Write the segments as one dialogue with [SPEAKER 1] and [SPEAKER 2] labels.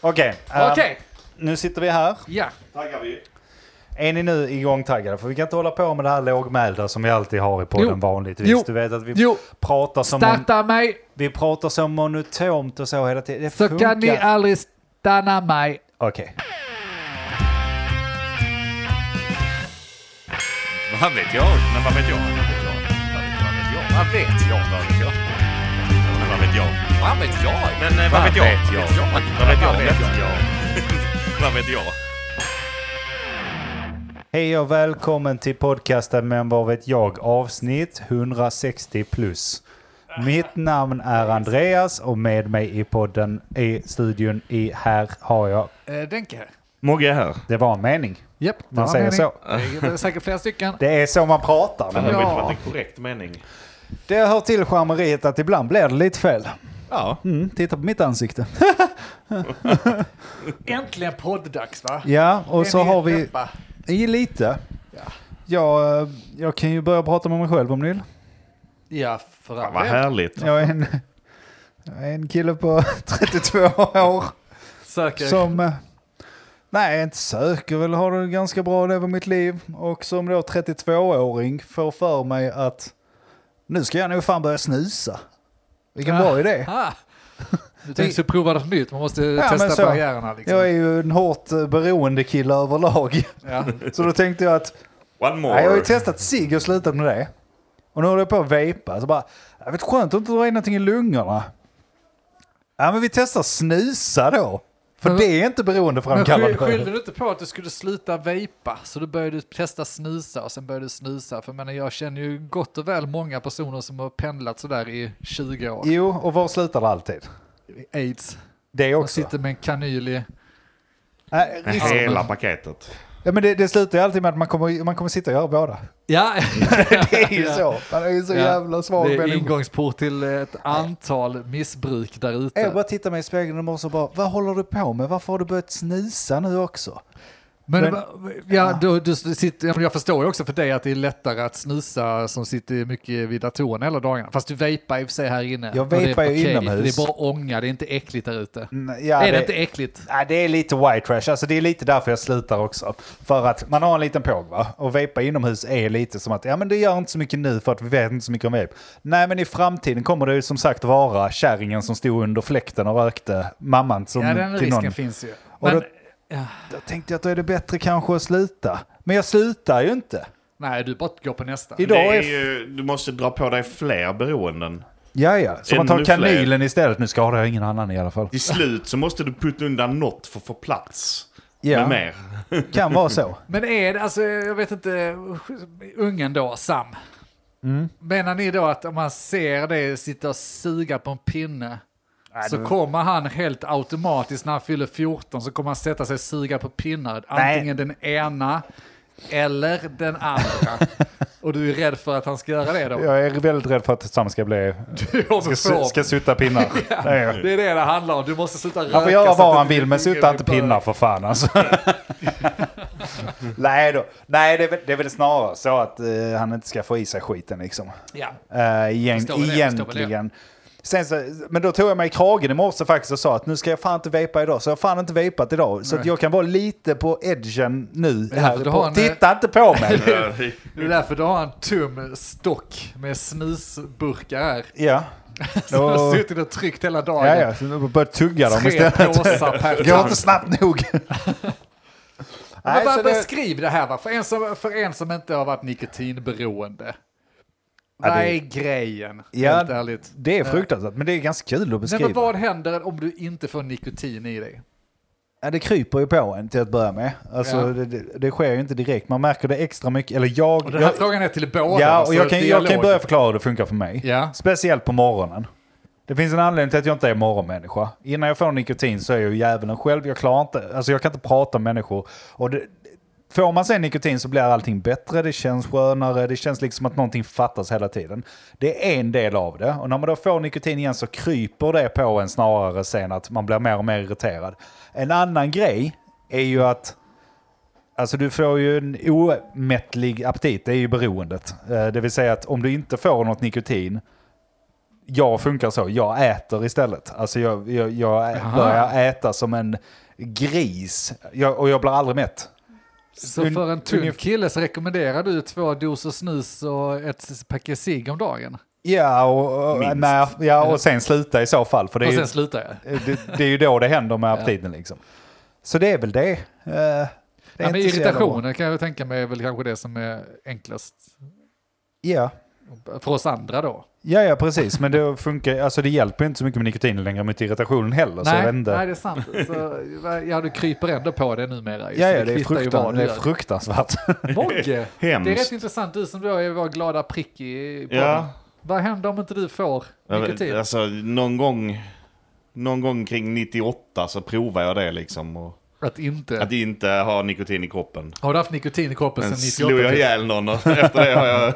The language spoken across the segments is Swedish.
[SPEAKER 1] Okej, eh,
[SPEAKER 2] Okej,
[SPEAKER 1] nu sitter vi här.
[SPEAKER 2] ja.
[SPEAKER 3] Taggar vi.
[SPEAKER 1] Är ni nu igångtaggade? För vi kan inte hålla på med det här lågmälda som vi alltid har i podden
[SPEAKER 2] Jo.
[SPEAKER 1] vanligtvis.
[SPEAKER 2] Jo.
[SPEAKER 1] Du vet att vi
[SPEAKER 2] Jo,
[SPEAKER 1] pratar så mon-
[SPEAKER 2] starta mig
[SPEAKER 1] vi pratar så monotont och så hela tiden. Det
[SPEAKER 2] så
[SPEAKER 1] funkar.
[SPEAKER 2] kan ni aldrig stanna mig.
[SPEAKER 1] Okej.
[SPEAKER 3] Vad vet jag? Men vad vet jag? Vad vet jag? Vad vet jag? Vad vet jag? Men vad vet jag? Vad vet jag? Men eh, vad vet jag? Vad vet jag? Vad vet jag? Vad vet jag?
[SPEAKER 1] Hej och välkommen till podcasten Men vad vet jag avsnitt 160 plus. Mitt namn är Andreas och med mig i podden i studion i här har jag.
[SPEAKER 2] Eh, Denke.
[SPEAKER 3] Mogge är här.
[SPEAKER 1] Det var en mening.
[SPEAKER 2] Japp, det
[SPEAKER 1] Man
[SPEAKER 2] var
[SPEAKER 1] säger
[SPEAKER 2] mening.
[SPEAKER 1] så.
[SPEAKER 2] Det är säkert flera stycken.
[SPEAKER 1] Det är så man pratar.
[SPEAKER 3] Det
[SPEAKER 1] Men
[SPEAKER 3] har
[SPEAKER 2] Ja.
[SPEAKER 3] inte varit en korrekt mening.
[SPEAKER 1] det hör till charmeriet att ibland blir det lite fel.
[SPEAKER 3] Ja.
[SPEAKER 1] Mm, titta på mitt ansikte.
[SPEAKER 2] Äntligen podd-dags va?
[SPEAKER 1] Ja, och
[SPEAKER 2] Är
[SPEAKER 1] så
[SPEAKER 2] ni
[SPEAKER 1] har vi...
[SPEAKER 2] peppa?
[SPEAKER 1] I lite.
[SPEAKER 2] Ja.
[SPEAKER 1] Jag, eh, jag kan ju börja prata med mig själv om ni vill.
[SPEAKER 2] Ja, för
[SPEAKER 3] Fan, vad
[SPEAKER 2] all del.
[SPEAKER 3] härligt.
[SPEAKER 1] Jag är en, jag är en kille på 32 år
[SPEAKER 2] Söker.
[SPEAKER 1] som... eh, Nej, inte söker väl, har det ganska bra över mitt liv. Och som då 32-åring får för mig att nu ska jag nog fan börja snusa. Vilken bra idé.
[SPEAKER 2] Ah. Du tänkte så prova något nytt, man måste
[SPEAKER 1] men så.
[SPEAKER 2] testa barriärerna liksom.
[SPEAKER 1] Jag är ju en hårt eh, beroende kille överlag.
[SPEAKER 2] Ja.
[SPEAKER 1] Så då tänkte jag att
[SPEAKER 3] One
[SPEAKER 1] Nej, jag har ju
[SPEAKER 3] more.
[SPEAKER 1] testat cigg och slutat med det. Och nu håller jag på att vejpa. Så bara, jag vet skönt att inte dra in någonting i lungorna. Ja, men vi testar snusa då. För
[SPEAKER 2] Men-
[SPEAKER 1] det är inte
[SPEAKER 2] Men skyll-
[SPEAKER 1] beroendeframkallande.
[SPEAKER 2] skyllde du inte på att du skulle sluta vejpa? Så du började testa snusa och sen började du snusa. För jag menar, jag känner ju gott och väl många personer som har pendlat sådär i 20 år.
[SPEAKER 1] Jo, och var slutar det alltid?
[SPEAKER 2] Aids.
[SPEAKER 1] Det
[SPEAKER 2] Och
[SPEAKER 1] också.
[SPEAKER 2] sitter med en kanyl i...
[SPEAKER 1] Nej, risk-
[SPEAKER 3] Hela paketet.
[SPEAKER 1] ja, men det, det slutar ju alltid med att man kommer, man kommer sitta och göra båda.
[SPEAKER 2] Ja,
[SPEAKER 1] Det är ju så. Man är ju så
[SPEAKER 2] Ja.
[SPEAKER 1] jävla svag
[SPEAKER 2] det är
[SPEAKER 1] människa.
[SPEAKER 2] ingångsport till ett antal missbruk där
[SPEAKER 1] Jag
[SPEAKER 2] ute.
[SPEAKER 1] bara tittar mig i spegeln och morse och bara, vad håller du på med? Varför har du börjat snusa nu också?
[SPEAKER 2] Men,
[SPEAKER 1] men-
[SPEAKER 2] ja, du, du sitter, ja, men jag förstår ju också för dig att det är lättare att snusa som sitter mycket vid datorn hela dagarna. Fast du vejpar i och för sig här inne.
[SPEAKER 1] Jag
[SPEAKER 2] Och det är
[SPEAKER 1] vejpar ju
[SPEAKER 2] okej, för
[SPEAKER 1] inomhus.
[SPEAKER 2] Det är bara ånga, det är inte äckligt där ute.
[SPEAKER 1] Mm, Ja,
[SPEAKER 2] är det inte äckligt?
[SPEAKER 1] Nej, det är lite white trash. Alltså, det är lite därför jag slutar också. För att man har en liten påg, va? Och vepa inomhus är lite som att ja, men det gör inte så mycket nu för att vi vet inte så mycket om vape. Nej, men i framtiden kommer det ju som sagt vara kärringen som stod under fläkten och rökte. Mamman som...
[SPEAKER 2] Ja, den
[SPEAKER 1] till
[SPEAKER 2] risken
[SPEAKER 1] någon.
[SPEAKER 2] finns ju.
[SPEAKER 1] Och
[SPEAKER 2] Men,
[SPEAKER 1] då- Då tänkte jag att då är det bättre kanske att sluta. Men jag slutar ju inte.
[SPEAKER 2] nej, du bara går på nästa.
[SPEAKER 1] Idag
[SPEAKER 3] Det är
[SPEAKER 1] är...
[SPEAKER 3] ju, du måste dra på dig fler beroenden.
[SPEAKER 1] Ja, ja. Så man tar
[SPEAKER 3] Ännu fler.
[SPEAKER 1] kanylen istället. Nu skadar jag ingen annan i alla fall.
[SPEAKER 3] Till slut så måste du putta undan något för att få plats med
[SPEAKER 1] Ja,
[SPEAKER 3] mer.
[SPEAKER 1] kan vara så.
[SPEAKER 2] Men är det, alltså jag vet inte, ungen då, Sam.
[SPEAKER 1] Mm.
[SPEAKER 2] Menar ni då att om man ser det sitta och suga på en pinne så kommer han helt automatiskt när han fyller 14 så kommer han sätta sig och suga på pinnar.
[SPEAKER 1] Nej.
[SPEAKER 2] Antingen den ena eller den andra. och du är rädd för att han ska göra det då?
[SPEAKER 1] Jag är väldigt rädd för att Sam ska bli...
[SPEAKER 2] Du är
[SPEAKER 1] Ska,
[SPEAKER 2] homofob.
[SPEAKER 1] ska sutta pinnar. Det är jag.
[SPEAKER 2] Det är det det handlar om, du måste sluta röka.
[SPEAKER 1] Han får göra
[SPEAKER 2] så att
[SPEAKER 1] vad
[SPEAKER 2] det
[SPEAKER 1] han
[SPEAKER 2] blir
[SPEAKER 1] vill, men
[SPEAKER 2] fungerar
[SPEAKER 1] sutta inte
[SPEAKER 2] i början.
[SPEAKER 1] pinnar för fan alltså. Nej, då. Nej det, är väl, det är väl snarare så att eh, han inte ska få i sig skiten liksom.
[SPEAKER 2] Ja.
[SPEAKER 1] Eh, igen,
[SPEAKER 2] Förstår väl det, förstår
[SPEAKER 1] egentligen. Sen så, men då tog jag mig i kragen i morse faktiskt och sa att nu ska jag fan inte vepa idag. Så jag har fan inte vepat idag. Så att jag kan vara lite på edgen nu.
[SPEAKER 2] Ja,
[SPEAKER 1] här
[SPEAKER 2] för du
[SPEAKER 1] på,
[SPEAKER 2] har en, eh,
[SPEAKER 1] Titta inte på mig!
[SPEAKER 3] Eh,
[SPEAKER 2] Det är därför du har en tom stock med snusburkar här.
[SPEAKER 1] ja.
[SPEAKER 2] Som
[SPEAKER 1] Och-
[SPEAKER 2] har suttit och tryckt hela dagen.
[SPEAKER 1] Ja, ja, så nu börjar jag tugga dem
[SPEAKER 2] Tre
[SPEAKER 1] istället.
[SPEAKER 2] påsar per
[SPEAKER 1] Går
[SPEAKER 2] tand.
[SPEAKER 1] inte snabbt nog.
[SPEAKER 2] Men
[SPEAKER 1] Nej, så
[SPEAKER 2] bara
[SPEAKER 1] det-
[SPEAKER 2] beskriv det här va? För, en som, för en som inte har varit nikotinberoende.
[SPEAKER 1] Ja,
[SPEAKER 2] Vad
[SPEAKER 1] det-
[SPEAKER 2] är grejen?
[SPEAKER 1] Ja,
[SPEAKER 2] Helt ärligt.
[SPEAKER 1] Det är fruktansvärt, men det är ganska kul att
[SPEAKER 2] Nej,
[SPEAKER 1] beskriva.
[SPEAKER 2] men vad händer om du inte får nikotin i dig?
[SPEAKER 1] Ja, det kryper ju på en till att börja med. Alltså,
[SPEAKER 2] Ja.
[SPEAKER 1] det, det, det sker ju inte direkt. Man märker det extra mycket. Eller jag...
[SPEAKER 2] Och den här
[SPEAKER 1] jag
[SPEAKER 2] frågan är till båda.
[SPEAKER 1] ja,
[SPEAKER 2] va?
[SPEAKER 1] och
[SPEAKER 2] Så
[SPEAKER 1] jag kan, jag
[SPEAKER 2] dialog.
[SPEAKER 1] kan börja förklara hur det funkar för mig.
[SPEAKER 2] Ja.
[SPEAKER 1] Speciellt på morgonen. Det finns en anledning till att jag inte är morgonmänniska. Innan jag får nikotin så är jag ju djävulen själv. Jag klarar inte, alltså jag kan inte prata med människor. Och det, får man sen nikotin så blir allting bättre, det känns skönare, det känns liksom att någonting fattas hela tiden. Det är en del av det. Och när man då får nikotin igen så kryper det på en snarare sen att man blir mer och mer irriterad. En annan grej är ju att Alltså du får ju en omättlig aptit, det är ju beroendet. Eh, Det vill säga att om du inte får något nikotin jag funkar så, jag äter istället. Alltså jag, jag, jag ä-
[SPEAKER 2] Aha.
[SPEAKER 1] börjar äta som en gris jag, och jag blir aldrig mätt.
[SPEAKER 2] Så
[SPEAKER 1] Un-
[SPEAKER 2] för en tunn
[SPEAKER 1] ungef-
[SPEAKER 2] kille så rekommenderar du två doser snus och ett paket cigg om dagen.
[SPEAKER 1] Ja och, och,
[SPEAKER 4] Minst.
[SPEAKER 1] nej, ja, och sen sluta i så fall. För det är
[SPEAKER 2] Och
[SPEAKER 1] ju- eh,
[SPEAKER 2] sen slutar jag.
[SPEAKER 1] det, det är ju då det händer med aptiten liksom. Så det är väl det. Eh, det är
[SPEAKER 2] Ja, men
[SPEAKER 1] inte så jävla bra.
[SPEAKER 2] irritationen kan jag tänka mig är väl kanske det som är enklast
[SPEAKER 1] Ja.
[SPEAKER 2] för oss andra då.
[SPEAKER 1] Ja, ja, precis. Men det, funkar, alltså, det hjälper inte så mycket med nikotin längre mot irritationen heller. så Alltså, jag
[SPEAKER 2] nej,
[SPEAKER 1] vet inte.
[SPEAKER 2] nej, det är sant. Så, ja, du kryper ändå på det numera. ju,
[SPEAKER 1] ja,
[SPEAKER 2] så
[SPEAKER 1] ja, det, är
[SPEAKER 2] kvittar ju vad
[SPEAKER 1] fruktan,
[SPEAKER 2] du
[SPEAKER 1] det är
[SPEAKER 2] gör.
[SPEAKER 1] fruktansvärt.
[SPEAKER 2] Mogge, det är
[SPEAKER 4] Hemskt.
[SPEAKER 2] rätt intressant. Du som då är vår glada prick i podden.
[SPEAKER 4] Ja.
[SPEAKER 2] Vad händer om inte du får nikotin?
[SPEAKER 4] Alltså, någon gång, någon gång kring 98 så provar jag det liksom. Och
[SPEAKER 2] Att inte?
[SPEAKER 4] att inte ha nikotin i kroppen.
[SPEAKER 2] Har du haft nikotin i kroppen
[SPEAKER 4] Sen
[SPEAKER 2] sedan
[SPEAKER 4] slog
[SPEAKER 2] 98?
[SPEAKER 4] jag ihjäl någon och efter det har jag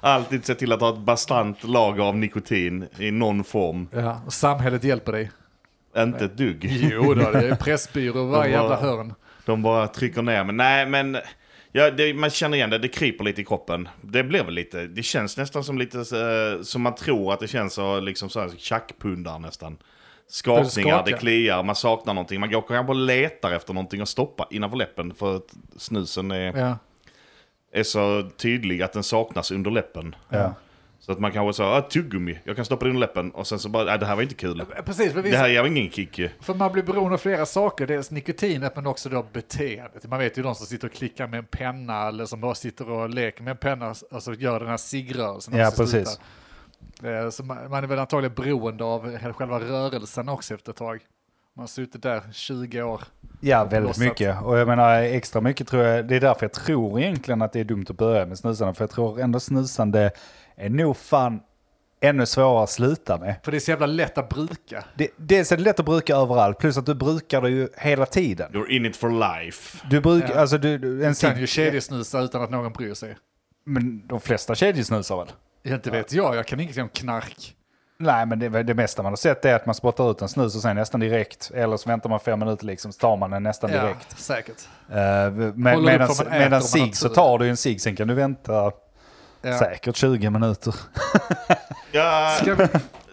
[SPEAKER 4] alltid sett till att ha ett bastant lager av nikotin i någon form.
[SPEAKER 2] Ja, och samhället hjälper dig.
[SPEAKER 4] Inte ett dugg.
[SPEAKER 2] Jo då, det är pressbyrå i varje
[SPEAKER 4] Det var-
[SPEAKER 2] jävla hörn.
[SPEAKER 4] De bara trycker ner mig. Nej, men ja, det, man känner igen det. Det kryper lite i kroppen. Det blir väl lite. Det känns nästan som lite eh, som man tror att det känns. Så, liksom så här tjackpundar nästan. Skakningar,
[SPEAKER 2] Skaka.
[SPEAKER 4] det kliar, man saknar någonting. Man går kanske och letar efter någonting och stoppar innanför läppen. För att snusen är,
[SPEAKER 2] Ja.
[SPEAKER 4] är så tydlig att den saknas under läppen.
[SPEAKER 1] ja.
[SPEAKER 4] Så att man kanske sa ah, tuggummi, jag kan stoppa det under läppen. Och sen så bara, "Ah, det här var inte kul.
[SPEAKER 2] Precis, för,
[SPEAKER 4] Det
[SPEAKER 2] vissa,
[SPEAKER 4] här ger ingen kick ju.
[SPEAKER 2] för man blir beroende av flera saker. Dels nikotinet men också då beteendet. Man vet ju de som sitter och klickar med en penna eller som bara sitter och leker med en penna och så gör den här ciggrörelsen. när
[SPEAKER 1] Ja,
[SPEAKER 2] man ska
[SPEAKER 1] precis.
[SPEAKER 2] sluta. Eh, Så man, man är väl antagligen beroende av själva rörelsen också efter ett tag. Man har suttit där 20 år.
[SPEAKER 1] ja, väldigt
[SPEAKER 2] Blossat.
[SPEAKER 1] mycket. Och jag menar extra mycket tror jag, det är därför jag tror egentligen att det är dumt att börja med snusande. För jag tror ändå snusande är nog fan ännu svårare att sluta med.
[SPEAKER 2] För det är så jävla lätt att bruka.
[SPEAKER 1] Det, dels är det lätt att bruka överallt, plus att du brukar det ju hela tiden.
[SPEAKER 4] You're in it for life.
[SPEAKER 1] Du brukar,
[SPEAKER 2] Ja.
[SPEAKER 1] alltså du, du en
[SPEAKER 2] Du kan ju
[SPEAKER 1] cigg,
[SPEAKER 2] kedjesnusa utan att någon bryr sig.
[SPEAKER 1] men de flesta kedjesnusar väl?
[SPEAKER 2] Inte vet jag, jag kan ingenting om knark.
[SPEAKER 1] Nej, men det, det mesta man har sett är att man spottar ut en snus och sen nästan direkt. Eller så väntar man fem minuter liksom, så tar man den nästan direkt.
[SPEAKER 2] Ja, säkert.
[SPEAKER 1] Eh,
[SPEAKER 2] upp
[SPEAKER 1] men medan
[SPEAKER 2] vad man äter om man
[SPEAKER 1] medan
[SPEAKER 2] har
[SPEAKER 1] cigg
[SPEAKER 2] tur.
[SPEAKER 1] så tar du ju en cigg, sen kan du vänta
[SPEAKER 2] Ja.
[SPEAKER 1] säkert 20 minuter.
[SPEAKER 4] Ja,
[SPEAKER 2] Ska vi,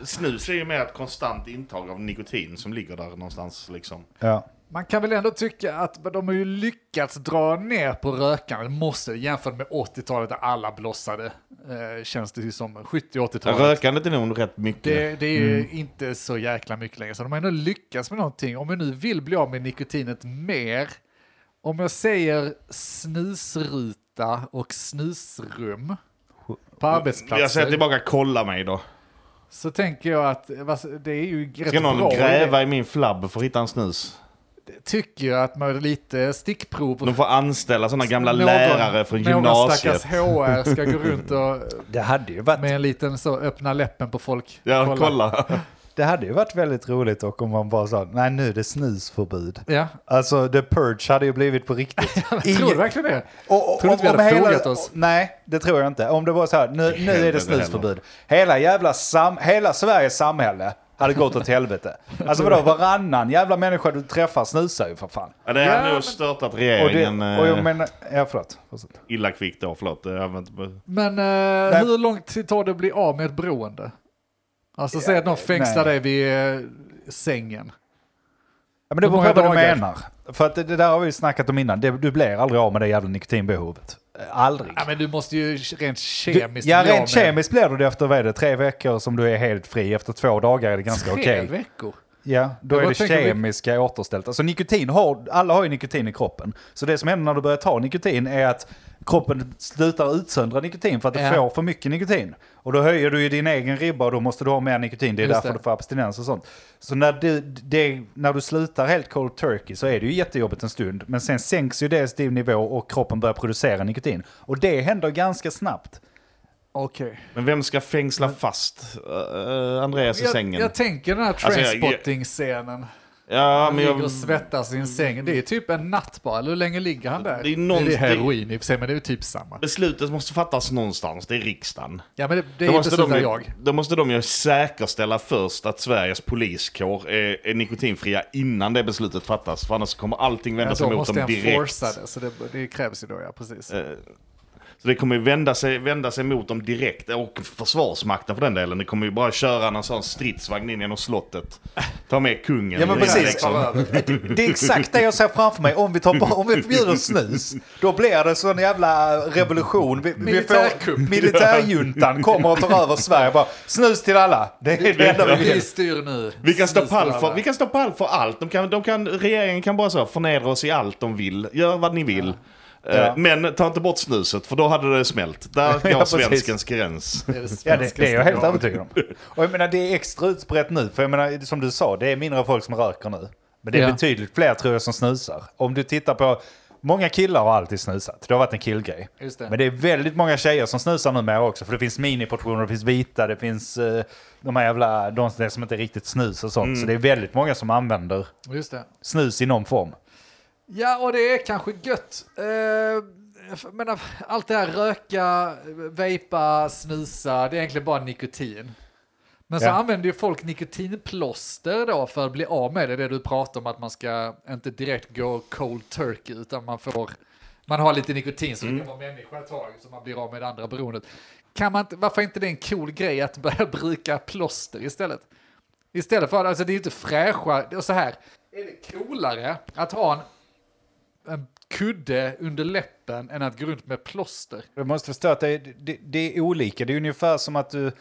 [SPEAKER 4] snus är ju mer ett konstant intag av nikotin som ligger där någonstans liksom.
[SPEAKER 1] Ja.
[SPEAKER 2] man kan väl ändå tycka att de har ju lyckats dra ner på rökandet, måste jämfört med 80-talet där alla blossade, eh, känns det ju som. 70-80-talet.
[SPEAKER 4] Rökandet är nog rätt mycket.
[SPEAKER 2] Det, det är ju inte så jäkla mycket längre, så de har ändå lyckats med någonting. Om vi nu vill bli av med nikotinet mer, om jag säger snusruta och snusrum på arbetsplatser.
[SPEAKER 4] Jag säger tillbaka, kolla mig då.
[SPEAKER 2] så tänker jag att eh, vad- det är ju rätt
[SPEAKER 4] Ska någon
[SPEAKER 2] bra.
[SPEAKER 4] gräva i min flabb för att hitta en snus?
[SPEAKER 2] Tycker jag att man har lite stickprov.
[SPEAKER 4] De får anställa sådana gamla
[SPEAKER 2] Någon-
[SPEAKER 4] lärare från
[SPEAKER 2] Någon
[SPEAKER 4] gymnasiet.
[SPEAKER 2] stackars HR ska gå runt och
[SPEAKER 1] Det hade ju varit,
[SPEAKER 2] med en liten så öppna läppen på folk.
[SPEAKER 4] Ja, kolla.
[SPEAKER 1] det hade ju varit väldigt roligt och om man bara sa nej nu är det snusförbud.
[SPEAKER 2] Ja,
[SPEAKER 1] Alltså the purge hade ju blivit på riktigt.
[SPEAKER 2] tror du
[SPEAKER 1] Ingen-
[SPEAKER 2] verkligen det?
[SPEAKER 1] Och,
[SPEAKER 2] Tror du inte vi hade frågat oss?
[SPEAKER 1] Nej, det tror jag inte. Om det var så här, nu, nu är
[SPEAKER 4] händer
[SPEAKER 1] det
[SPEAKER 4] det
[SPEAKER 1] snusförbud. Hela jävla sam, hela Sveriges samhälle hade gått åt helvete. Alltså vadå, varannan jävla människa du träffar snusar ju för fan.
[SPEAKER 4] Ja, det
[SPEAKER 2] Ja,
[SPEAKER 4] hade
[SPEAKER 2] men-
[SPEAKER 4] nog störtat
[SPEAKER 1] Och, det,
[SPEAKER 4] regeringen
[SPEAKER 1] och jag
[SPEAKER 4] eh,
[SPEAKER 1] menar, ja förlåt. Fortsätt.
[SPEAKER 4] illa kvickt då. Förlåt. Jag vet inte.
[SPEAKER 2] Men eh, hur lång tid tar det att bli av med ett beroende? Alltså säg att någon fängslar dig vid eh, sängen.
[SPEAKER 1] Ja, men det
[SPEAKER 2] Hur
[SPEAKER 1] beror
[SPEAKER 2] många
[SPEAKER 1] på vad du
[SPEAKER 2] dagar?
[SPEAKER 1] menar. För att det, det där har vi ju snackat om innan, det, du blir aldrig av med det jävla nikotinbehovet. Eh, Aldrig.
[SPEAKER 2] Ja, men du måste ju rent
[SPEAKER 1] Du,
[SPEAKER 2] kemiskt
[SPEAKER 1] ja,
[SPEAKER 2] bli av med
[SPEAKER 1] rent kemiskt blir du det efter vad är det, tre veckor som du är helt fri. Efter två dagar är det ganska
[SPEAKER 2] tre
[SPEAKER 1] okej.
[SPEAKER 2] veckor.
[SPEAKER 1] Ja, då
[SPEAKER 2] Jag
[SPEAKER 1] är
[SPEAKER 2] bara
[SPEAKER 1] det
[SPEAKER 2] tänker om vi-
[SPEAKER 1] kemiska återställt. Alltså nikotin har, alla har ju nikotin i kroppen. Så det som händer när du börjar ta nikotin är att kroppen slutar utsöndra nikotin för att du
[SPEAKER 2] Ja.
[SPEAKER 1] får för mycket nikotin. Och då höjer du ju din egen ribba och då måste du ha mer nikotin. Det är
[SPEAKER 2] Just
[SPEAKER 1] därför
[SPEAKER 2] det.
[SPEAKER 1] du får abstinens och sånt. Så när du, det, när du slutar helt cold turkey så är det ju jättejobbigt en stund. Men sen sänks ju det din nivå och kroppen börjar producera nikotin. Och det händer ganska snabbt.
[SPEAKER 2] Okej.
[SPEAKER 4] Men vem ska fängsla fast eh, Andreas i
[SPEAKER 2] Jag,
[SPEAKER 4] sängen?
[SPEAKER 2] jag tänker den här
[SPEAKER 4] Alltså, jag-
[SPEAKER 2] trainspotting-scenen.
[SPEAKER 4] ja,
[SPEAKER 2] Han
[SPEAKER 4] men jag...
[SPEAKER 2] ligger och svettas i en säng. Det är typ en natt bara, eller hur länge ligger han där?
[SPEAKER 4] Det är någon-
[SPEAKER 2] det är heroin i och för sig, men det är ju typ samma.
[SPEAKER 4] Beslutet måste fattas någonstans. Det är riksdagen.
[SPEAKER 2] Ja, men det, det
[SPEAKER 4] Då
[SPEAKER 2] är
[SPEAKER 4] måste,
[SPEAKER 2] beslutar
[SPEAKER 4] de,
[SPEAKER 2] jag.
[SPEAKER 4] då måste de ju säkerställa först att Sveriges poliskår är, är nikotinfria innan det beslutet fattas. För annars kommer allting vända
[SPEAKER 2] Ja,
[SPEAKER 4] sig
[SPEAKER 2] då
[SPEAKER 4] mot
[SPEAKER 2] måste
[SPEAKER 4] dem Eh,
[SPEAKER 2] han
[SPEAKER 4] direkt.
[SPEAKER 2] forca det, så det, det krävs ju då, ja precis.
[SPEAKER 4] Så det kommer ju vända sig, vända sig mot dem direkt, och försvarsmakten för den delen. Det kommer ju bara köra någon sån stridsvagn in genom slottet. Ta med kungen.
[SPEAKER 1] Ja men
[SPEAKER 4] in,
[SPEAKER 1] precis.
[SPEAKER 4] liksom.
[SPEAKER 1] Det- Det är exakt det jag ser framför mig. Om vi, tar, bort- om vi förbjuder snus, då blir det sån jävla revolution. Vi, vi får,
[SPEAKER 2] Militärkupp.
[SPEAKER 1] militärjuntan kommer och tar över Sverige. Bara, snus till alla. Det är det enda vi
[SPEAKER 2] Vi
[SPEAKER 1] vill.
[SPEAKER 2] styr nu.
[SPEAKER 4] Vi kan, stå
[SPEAKER 2] Snus till
[SPEAKER 4] pall
[SPEAKER 2] alla.
[SPEAKER 4] för, vi kan stå pall för allt. De kan, de kan, regeringen kan bara så förnedra oss i allt de vill. Gör vad ni vill. Eh,
[SPEAKER 1] Ja.
[SPEAKER 4] Men ta inte bort snuset, för då hade det smält. Där går
[SPEAKER 1] Ja, precis.
[SPEAKER 4] svenskens gräns.
[SPEAKER 2] Det är det
[SPEAKER 1] Ja, det,
[SPEAKER 2] svenska
[SPEAKER 1] det är jag helt
[SPEAKER 2] språket.
[SPEAKER 1] övertygad om. Och jag menar, det är extra utbrett nu. För jag menar, som du sa, det är mindre folk som röker nu. Men det är
[SPEAKER 2] Ja.
[SPEAKER 1] betydligt fler tror jag som snusar. Om du tittar på... Många killar har alltid snusat. Det har varit en killgrej.
[SPEAKER 2] Just det.
[SPEAKER 1] Men det är väldigt många tjejer som snusar numera också. För det finns miniportioner, det finns vita, det finns eh, de här jävla... De som- som inte riktigt snus och sånt.
[SPEAKER 2] Mm.
[SPEAKER 1] Så det är väldigt många som använder
[SPEAKER 2] Just det.
[SPEAKER 1] snus i någon form.
[SPEAKER 2] Ja, och det är kanske gött. Eh, men allt det här röka, vejpa, snusa, det är egentligen bara nikotin. Men så
[SPEAKER 1] Ja.
[SPEAKER 2] använder ju folk nikotinplåster då för att bli av med det, det du pratar om att man ska inte direkt gå cold turkey utan man får, man har lite nikotin så det kan vara människa ett tag så man blir av med det andra beroendet. Kan man inte, varför är inte det en cool grej att börja bruka plåster istället? Istället för, alltså det är ju inte fräscha, och så här, är det coolare att ha en, en kudde under läppen än att gå runt med plåster?
[SPEAKER 1] Du måste förstå att det är, det, det är olika. Det är ungefär som att du...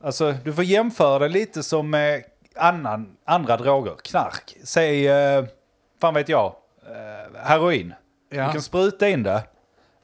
[SPEAKER 1] Alltså, du får jämföra det lite som med annan, andra droger. Knark. Säg, eh, fan vet jag, eh, heroin.
[SPEAKER 2] Ja.
[SPEAKER 1] Du kan spruta in det.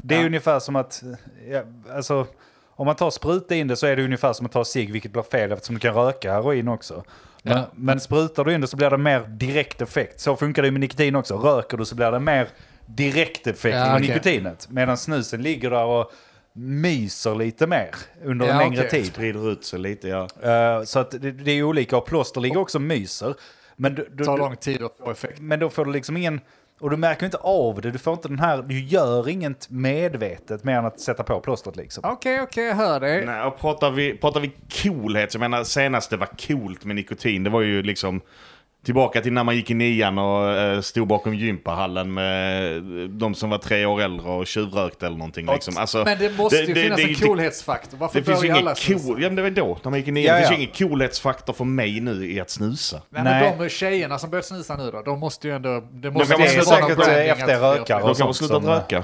[SPEAKER 1] Det är ungefär som att... eh, Ja, alltså, om man tar spruta in det så är det ungefär som att ta cigg, vilket blir fel eftersom du kan röka heroin också. Men,
[SPEAKER 2] Ja.
[SPEAKER 1] men sprutar du in det så blir det mer direkt effekt. Så funkar det ju med nikotin också. Röker du så blir det mer direkt effekt
[SPEAKER 2] Ja,
[SPEAKER 1] med
[SPEAKER 2] okej.
[SPEAKER 1] nikotinet. Medan snusen ligger där och myser lite mer under
[SPEAKER 2] Ja,
[SPEAKER 1] en längre
[SPEAKER 2] okej.
[SPEAKER 1] tid.
[SPEAKER 4] Sprider ut sig lite, ja.
[SPEAKER 1] Eh, så att det, det är olika och plåster ligger också och myser. Men, du, du,
[SPEAKER 2] Det tar
[SPEAKER 1] du,
[SPEAKER 2] lång tid att få effekt.
[SPEAKER 1] men då får du liksom ingen... Och du märker inte av det. Du får inte den här... Du gör inget medvetet mer än att sätta på plåstret liksom.
[SPEAKER 2] Okej, okej, jag hör dig.
[SPEAKER 4] Nej, och pratar, vi, pratar vi coolhet, så jag menar senast det var coolt med nikotin, det var ju liksom tillbaka till när man gick i nian och eh, stod bakom gympahallen med eh, de som var tre år äldre och tjuvrökte eller någonting. Liksom. Alltså,
[SPEAKER 2] Men det måste ju finnas
[SPEAKER 4] det-
[SPEAKER 2] en
[SPEAKER 4] det-
[SPEAKER 2] coolhetsfaktor. Varför
[SPEAKER 4] Det finns ju
[SPEAKER 2] börjar alla
[SPEAKER 4] ingen
[SPEAKER 2] snusa?
[SPEAKER 4] cool... Ja, men det var då, när man gick i nian.
[SPEAKER 1] Ja,
[SPEAKER 4] det finns
[SPEAKER 1] ja.
[SPEAKER 4] ju ingen coolhetsfaktor för mig nu i att snusa.
[SPEAKER 2] Nej,
[SPEAKER 1] Nej.
[SPEAKER 2] men de tjejerna som börjat snusa nu då, de måste ju ändå... Det måste
[SPEAKER 1] Men
[SPEAKER 4] kan
[SPEAKER 1] det
[SPEAKER 2] ju
[SPEAKER 1] är
[SPEAKER 4] vara
[SPEAKER 2] ändå
[SPEAKER 1] säkert
[SPEAKER 2] någon branding
[SPEAKER 1] eh, efter
[SPEAKER 2] att-
[SPEAKER 1] rökare
[SPEAKER 4] De
[SPEAKER 1] och
[SPEAKER 4] kan ha
[SPEAKER 1] sånt.
[SPEAKER 4] slutat
[SPEAKER 1] som, eh,
[SPEAKER 4] röka.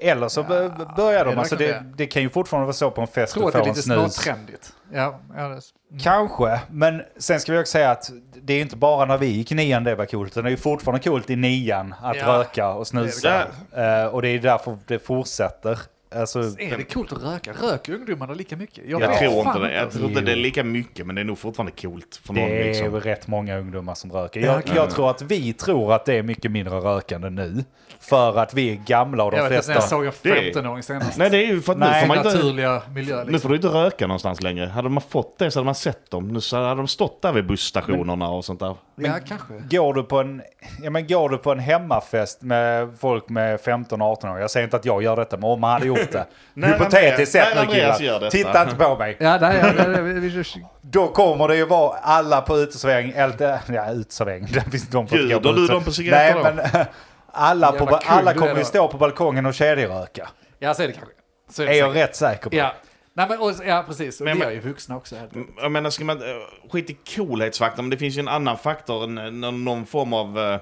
[SPEAKER 1] eh, eller så b- b- börjar de.
[SPEAKER 2] det
[SPEAKER 1] Alltså
[SPEAKER 2] kan
[SPEAKER 1] det,
[SPEAKER 2] det.
[SPEAKER 1] det kan ju fortfarande vara så på en fest
[SPEAKER 2] Jag tror att
[SPEAKER 1] du
[SPEAKER 2] det är
[SPEAKER 1] får en
[SPEAKER 2] lite
[SPEAKER 1] snus.
[SPEAKER 2] småtrendigt. Ja, ja, det,
[SPEAKER 1] Kanske, men sen ska vi också säga att det är inte bara när vi gick i nian det var coolt, utan det är ju fortfarande coolt i nian att
[SPEAKER 2] Ja.
[SPEAKER 1] röka och snusa.
[SPEAKER 4] Det är
[SPEAKER 1] Eh, och det är därför det fortsätter. Alltså,
[SPEAKER 2] är det coolt att röka? Röker ungdomarna lika mycket? Jag,
[SPEAKER 4] Jag
[SPEAKER 2] vet
[SPEAKER 4] tror
[SPEAKER 2] fan
[SPEAKER 4] inte det. Jag tror inte
[SPEAKER 1] Jo.
[SPEAKER 4] det är lika mycket, men det är nog fortfarande coolt för någon.
[SPEAKER 1] det är
[SPEAKER 4] liksom.
[SPEAKER 1] väl rätt många ungdomar som röker.
[SPEAKER 2] Ja,
[SPEAKER 1] Jag,
[SPEAKER 2] okej.
[SPEAKER 1] jag tror att vi tror att det är mycket mindre rökande nu. För att vi är gamla och de
[SPEAKER 2] Jag vet inte
[SPEAKER 1] flesta...
[SPEAKER 2] när jag såg en
[SPEAKER 4] Det är-
[SPEAKER 2] 15-åring senast.
[SPEAKER 4] Nej, det är ju för att nu
[SPEAKER 1] Nej,
[SPEAKER 4] får man inte...
[SPEAKER 2] Naturliga miljöer.
[SPEAKER 4] Nu
[SPEAKER 2] Liksom.
[SPEAKER 4] får du inte röka någonstans längre. Hade man fått det så hade man sett dem. Nu så hade de stått där vid busstationerna och sånt där.
[SPEAKER 2] Ja, kanske.
[SPEAKER 1] Går du, på en, ja, men går du på en hemmafest med folk med 15-18 år, jag säger inte att jag gör detta, men om man hade gjort det.
[SPEAKER 4] Nej, Andreas-
[SPEAKER 1] Hypotetiskt sett
[SPEAKER 4] nej,
[SPEAKER 1] nu
[SPEAKER 4] Andreas gör
[SPEAKER 1] killar,
[SPEAKER 4] detta.
[SPEAKER 1] titta inte på mig.
[SPEAKER 2] Ja, nej, ja, det, det, vi, vi,
[SPEAKER 1] Då kommer det ju vara alla på uteservering, eller äh, ja uteservering, där finns de får inte gå
[SPEAKER 4] Bjuder du
[SPEAKER 1] ute.
[SPEAKER 4] dem på
[SPEAKER 1] Nej,
[SPEAKER 4] cigaretter då?
[SPEAKER 1] men äh, alla, på,
[SPEAKER 2] Jävla kul
[SPEAKER 1] alla
[SPEAKER 2] du är
[SPEAKER 1] kommer ju
[SPEAKER 2] då.
[SPEAKER 1] stå på balkongen och kedjeröka.
[SPEAKER 2] ja, så är det kanske. Så är
[SPEAKER 1] Är
[SPEAKER 2] det säkert.
[SPEAKER 1] jag rätt säker på.
[SPEAKER 2] Ja. Nej, men, och, ja, precis. Och
[SPEAKER 4] Men-
[SPEAKER 2] vi är ju vuxna också. Här.
[SPEAKER 4] Jag menar, ska man... eh, Skit i coolhetsfaktorn, men det finns ju en annan faktor. En, en- någon form av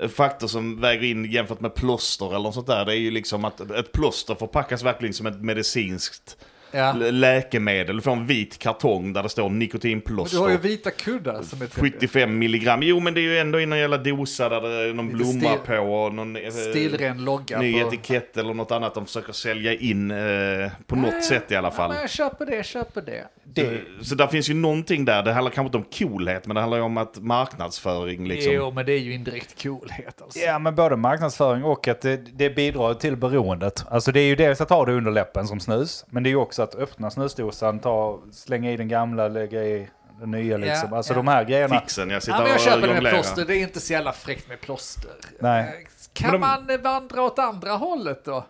[SPEAKER 4] eh, faktor som väger in jämfört med plåster eller något sånt där. Det är ju liksom att ett plåster förpackas verkligen som ett medicinskt
[SPEAKER 2] Ja.
[SPEAKER 4] lä- läkemedel från en vit kartong där det står
[SPEAKER 2] Du har ju
[SPEAKER 4] nikotinplåster.
[SPEAKER 2] vita kuddar som är typ trevliga.
[SPEAKER 4] 75 milligram. Jo, men det är ju ändå i någon jävla dosa där det är någon
[SPEAKER 2] Lite
[SPEAKER 4] blomma
[SPEAKER 2] stil-
[SPEAKER 4] på och någon... eh,
[SPEAKER 2] Stilren logga
[SPEAKER 4] ny
[SPEAKER 2] på...
[SPEAKER 4] etikett eller något annat de försöker sälja in eh, på något sätt i alla
[SPEAKER 2] Ja,
[SPEAKER 4] fall.
[SPEAKER 2] men jag köper det, jag köper det.
[SPEAKER 1] Det,
[SPEAKER 4] Eh, Så, så där finns ju någonting där. Det handlar kanske inte om coolhet, men det handlar ju om att marknadsföring liksom.
[SPEAKER 2] Jo, men det är ju indirekt coolhet alltså.
[SPEAKER 1] ja, men både marknadsföring och att det, det bidrar till beroendet. Alltså det är ju dels att ha det under läppen som snus, men det är ju också att öppna snusdosan, ta, slänga i den gamla, lägga i den nya liksom. Alltså
[SPEAKER 2] ja.
[SPEAKER 1] de här grejerna.
[SPEAKER 4] Fixen, jag sitter
[SPEAKER 2] Ja, men jag
[SPEAKER 4] och
[SPEAKER 2] köper det med
[SPEAKER 4] jonglerar.
[SPEAKER 2] plåster, det är inte så jävla fräckt med plåster.
[SPEAKER 1] Nej.
[SPEAKER 2] Kan
[SPEAKER 4] Men de-
[SPEAKER 2] man eh, vandra åt andra hållet då?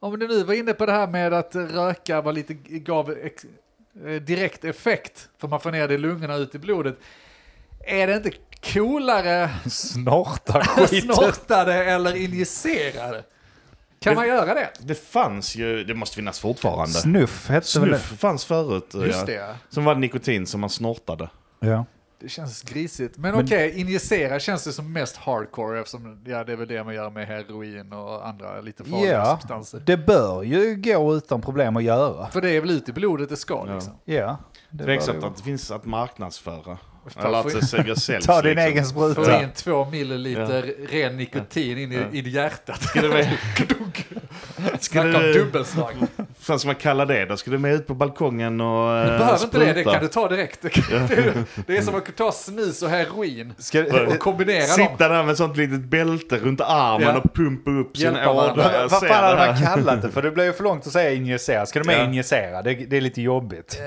[SPEAKER 2] Om du nu var inne på det här med att eh, röka var lite, gav ex, eh, direkt effekt, för man får ner det i lungorna och ut i blodet. Är det inte coolare
[SPEAKER 1] Snorta skiten.
[SPEAKER 2] snortade eller injicerade? Kan man göra det?
[SPEAKER 4] Det fanns ju, det måste finnas fortfarande.
[SPEAKER 1] Snuff hette väl det?
[SPEAKER 4] Snuff fanns förut. eh,
[SPEAKER 2] Just det, ja.
[SPEAKER 4] Som var nikotin som man snortade.
[SPEAKER 1] Ja.
[SPEAKER 2] Det känns grisigt. Men, okej, injicera känns det som mest hardcore eftersom ja, det är väl det man gör med heroin och andra lite farliga
[SPEAKER 1] ja,
[SPEAKER 2] substanser.
[SPEAKER 1] det bör ju gå utan problem att göra.
[SPEAKER 2] För det är väl ut i blodet det ska liksom.
[SPEAKER 1] Ja, det bör
[SPEAKER 4] Tveksamt
[SPEAKER 1] det.
[SPEAKER 4] att det finns att marknadsföra.
[SPEAKER 2] Fan,
[SPEAKER 4] Eller att
[SPEAKER 2] får
[SPEAKER 4] det
[SPEAKER 2] jag-
[SPEAKER 4] sälja- säljs.
[SPEAKER 1] Ta din
[SPEAKER 4] liksom.
[SPEAKER 1] egen
[SPEAKER 2] Få
[SPEAKER 1] spruta.
[SPEAKER 2] in två milliliter ren nikotin in i, in i hjärtat.
[SPEAKER 4] Skulle det-
[SPEAKER 2] Snacka om
[SPEAKER 4] du-
[SPEAKER 2] dubbelslag.
[SPEAKER 4] Fan som man kallar det, då skulle du med ut på balkongen och eh,
[SPEAKER 2] Du behöver inte
[SPEAKER 4] spruta.
[SPEAKER 2] det, det kan du ta direkt. Det kan- det är- Det är som att ta snus och heroin och kombinera dem.
[SPEAKER 4] Sitta där med sånt litet bälte runt armen
[SPEAKER 2] Ja.
[SPEAKER 4] och pumpa upp sin
[SPEAKER 2] Hjälpa
[SPEAKER 4] ådra.
[SPEAKER 2] varandra.
[SPEAKER 4] Jag
[SPEAKER 1] Vad fan
[SPEAKER 4] ser det
[SPEAKER 1] hade
[SPEAKER 4] här.
[SPEAKER 1] man kallat det? För det blir ju för långt att säga injicera. Ska du med
[SPEAKER 4] Ja.
[SPEAKER 1] injicera? Det, det är lite jobbigt.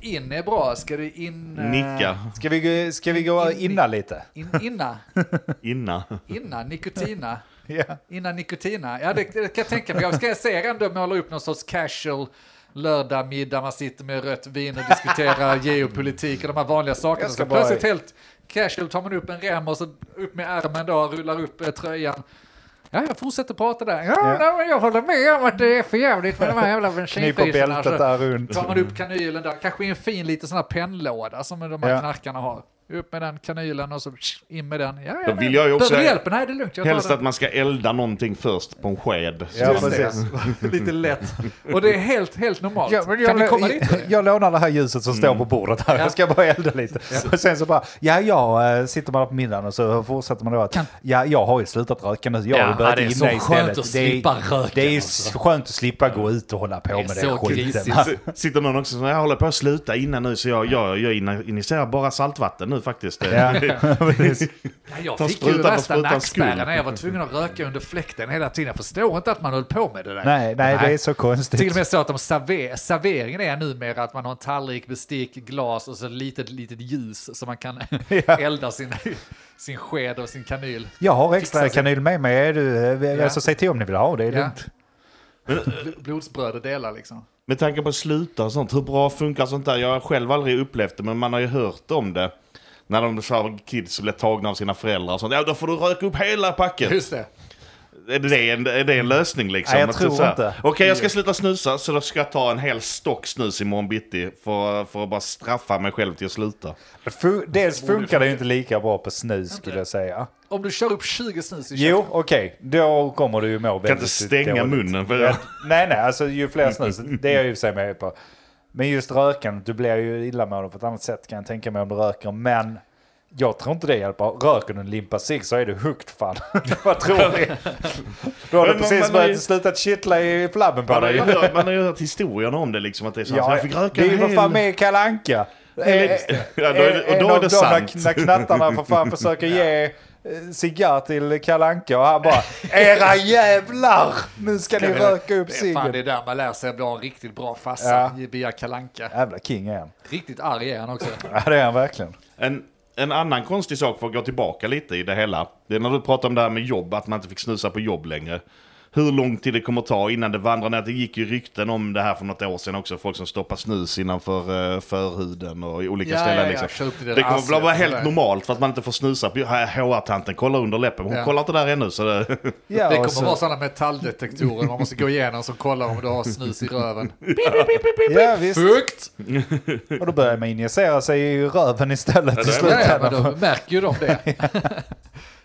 [SPEAKER 2] Eh, In är bra, ska du in... eh,
[SPEAKER 4] Nicka,
[SPEAKER 1] Ska vi, gå- ska vi gå inna lite?
[SPEAKER 2] In, inna,
[SPEAKER 4] inna.
[SPEAKER 2] inna, nikotina.
[SPEAKER 1] Ja.
[SPEAKER 2] Innan nikotina. Ja, det, det kan jag tänka mig. Jag ska se ändå måla upp någon sorts casual lördagmiddag. Man sitter med rött vin och diskuterar geopolitik och de här vanliga sakerna.
[SPEAKER 1] Jag ska
[SPEAKER 2] Så plötsligt
[SPEAKER 1] bara-
[SPEAKER 2] helt casual tar man upp en rem och så upp med ärmen då, rullar upp eh, tröjan. Ja, jag fortsätter prata där. Ja,
[SPEAKER 1] Ja.
[SPEAKER 2] Nej, men jag håller med om att det är för jävligt med de här jävla
[SPEAKER 1] Knipa
[SPEAKER 2] bensinpriserna.
[SPEAKER 1] bältet
[SPEAKER 2] Alltså,
[SPEAKER 1] där runt.
[SPEAKER 2] tar man upp kanylen där, kanske i en fin liten sån här pennlåda som de här
[SPEAKER 1] Ja.
[SPEAKER 2] knarkarna har. Upp med den kanylen och så in med den. Ja,
[SPEAKER 4] Då vill jag ju också-
[SPEAKER 2] Behöver du hjälp? Nej, det är lugnt. Jag tar
[SPEAKER 4] Helst
[SPEAKER 2] den.
[SPEAKER 4] att man ska elda någonting först på en sked. Så
[SPEAKER 1] Ja,
[SPEAKER 4] man-
[SPEAKER 2] Just det.
[SPEAKER 1] precis.
[SPEAKER 2] Lite lätt. Och det är helt, helt normalt.
[SPEAKER 1] Ja, men
[SPEAKER 2] kan vi komma dit?
[SPEAKER 1] jag, jag lånar det här ljuset som
[SPEAKER 2] Mm.
[SPEAKER 1] står på bordet här. Jag ska bara elda lite. Och sen så bara, ja, jag eh, sitter man på middagen och så fortsätter man då att, ja, jag har ju slutat röka nu. Jag har
[SPEAKER 2] Ja,
[SPEAKER 1] ju börjat
[SPEAKER 2] det är
[SPEAKER 1] inne
[SPEAKER 2] så skönt
[SPEAKER 1] istället.
[SPEAKER 2] att slippa röken,
[SPEAKER 1] Det är ju
[SPEAKER 2] alltså.
[SPEAKER 1] skönt att slippa gå ut och hålla på med
[SPEAKER 2] så
[SPEAKER 1] den skiten.
[SPEAKER 2] grisigt.
[SPEAKER 4] S- Sitter någon också som jag håller på att sluta innan nu så jag, jag, jag inna- injicerar bara saltvatten nu faktiskt.
[SPEAKER 1] Ja, precis.
[SPEAKER 2] Ja, jag
[SPEAKER 4] Ta
[SPEAKER 2] fick ju
[SPEAKER 4] sprutan för
[SPEAKER 2] värsta
[SPEAKER 4] sprutans
[SPEAKER 2] nackspärren
[SPEAKER 4] skull.
[SPEAKER 2] när jag var tvungen att röka under fläkten hela tiden. Jag förstår inte att man höll på med det där.
[SPEAKER 1] nej, nej, det är så konstigt.
[SPEAKER 2] Till och med så att de server, serveringen är numera att man har en tallrik, bestick, glas och så ett litet, litet ljus så man kan elda sin, sin sked och sin kanyl.
[SPEAKER 1] Jag har extra
[SPEAKER 2] Fixa sig.
[SPEAKER 1] kanyl med mig. Är du,
[SPEAKER 2] Ja.
[SPEAKER 1] ja. alltså, säg till om ni vill ha det. Är
[SPEAKER 2] Ja.
[SPEAKER 1] lugnt.
[SPEAKER 2] Bl- Blodsbröd och delar liksom.
[SPEAKER 4] Med tanke på att sluta och sånt, hur bra funkar sånt där? Jag har själv aldrig upplevt det, men man har ju hört om det. När de så här, kids blir tagna av sina föräldrar och sånt. Ja, då får du röka upp hela packet.
[SPEAKER 2] Just det.
[SPEAKER 4] Är det en, är det en lösning liksom?
[SPEAKER 1] Nej, jag
[SPEAKER 4] Att
[SPEAKER 1] tror
[SPEAKER 4] så här,
[SPEAKER 1] inte.
[SPEAKER 4] Okej, jag ska sluta snusa, så då ska jag ta en hel stock snus imorgon bitti för, för att bara straffa mig själv till att sluta.
[SPEAKER 1] Fu- Dels funkar det ju inte lika bra på snus skulle jag säga.
[SPEAKER 2] Om du kör upp 20 snus i
[SPEAKER 1] Jo, okej. Då kommer du ju må
[SPEAKER 4] Kan inte stänga munnen. För
[SPEAKER 1] Ja, nej, nej, alltså ju fler snus, det är jag ju i och för sig med på. Men just röken, du blir ju illamående på ett annat sätt kan jag tänka mig om du röker. Men jag tror inte det hjälper. Röker du en limpa cigg så är du hooked fan. Vad tror ni? Då har du
[SPEAKER 4] Men man-
[SPEAKER 1] precis
[SPEAKER 4] man är ju-
[SPEAKER 1] börjat sluta kittla i flabben på
[SPEAKER 4] Man har, ju
[SPEAKER 1] dig.
[SPEAKER 4] hört, man har ju hört historien om det, liksom att det är så här, så
[SPEAKER 1] Ja,
[SPEAKER 4] jag fick
[SPEAKER 1] det
[SPEAKER 4] röka
[SPEAKER 1] är
[SPEAKER 4] en
[SPEAKER 1] ju för
[SPEAKER 4] hel...
[SPEAKER 1] fan med i Kalle Anka. Eh,
[SPEAKER 4] Ja, då är det, och
[SPEAKER 1] en
[SPEAKER 4] då är
[SPEAKER 1] av
[SPEAKER 4] det
[SPEAKER 1] de
[SPEAKER 4] sant.
[SPEAKER 1] När, när knattarna för fan försöker ge eh, cigarr till Kalle Anka och han bara Era jävlar! Nu ska ni röka upp
[SPEAKER 2] Det är, fan, det
[SPEAKER 1] ciggen.
[SPEAKER 2] är där man lär sig att bli en riktigt bra farsa
[SPEAKER 1] Ja.
[SPEAKER 2] via Kalanka.
[SPEAKER 1] Jävla king är han.
[SPEAKER 2] Riktigt arg är han också.
[SPEAKER 1] Ja det är han verkligen.
[SPEAKER 4] En, en annan konstig sak för att gå tillbaka lite i det hela. Det är när du pratar om det här med jobb, att man inte fick snusa på jobb längre. Hur lång tid det kommer ta innan det vandrar ner. Det gick ju rykten om det här för något år sedan också. Folk som stoppar snus innanför eh, förhuden och i olika
[SPEAKER 2] Ja,
[SPEAKER 4] ställen.
[SPEAKER 2] ja, ja.
[SPEAKER 4] liksom.
[SPEAKER 2] Kör upp det där
[SPEAKER 4] Det kommer
[SPEAKER 2] arslet
[SPEAKER 4] att vara
[SPEAKER 2] där.
[SPEAKER 4] helt normalt för att man inte får snusa på HR-tanten. Kolla under läppen. Hon
[SPEAKER 2] Ja.
[SPEAKER 4] kollar inte där ännu. Så det...
[SPEAKER 1] Ja,
[SPEAKER 2] Det
[SPEAKER 1] och
[SPEAKER 2] kommer
[SPEAKER 1] så-
[SPEAKER 2] vara sådana metalldetektorer man måste gå igenom som kollar om du har snus i röven.
[SPEAKER 1] Ja visst.
[SPEAKER 2] Fukt!
[SPEAKER 1] Och då börjar man injicera sig i röven istället i
[SPEAKER 4] det är
[SPEAKER 2] Ja, men
[SPEAKER 1] slutändan.
[SPEAKER 2] de märker ju de det.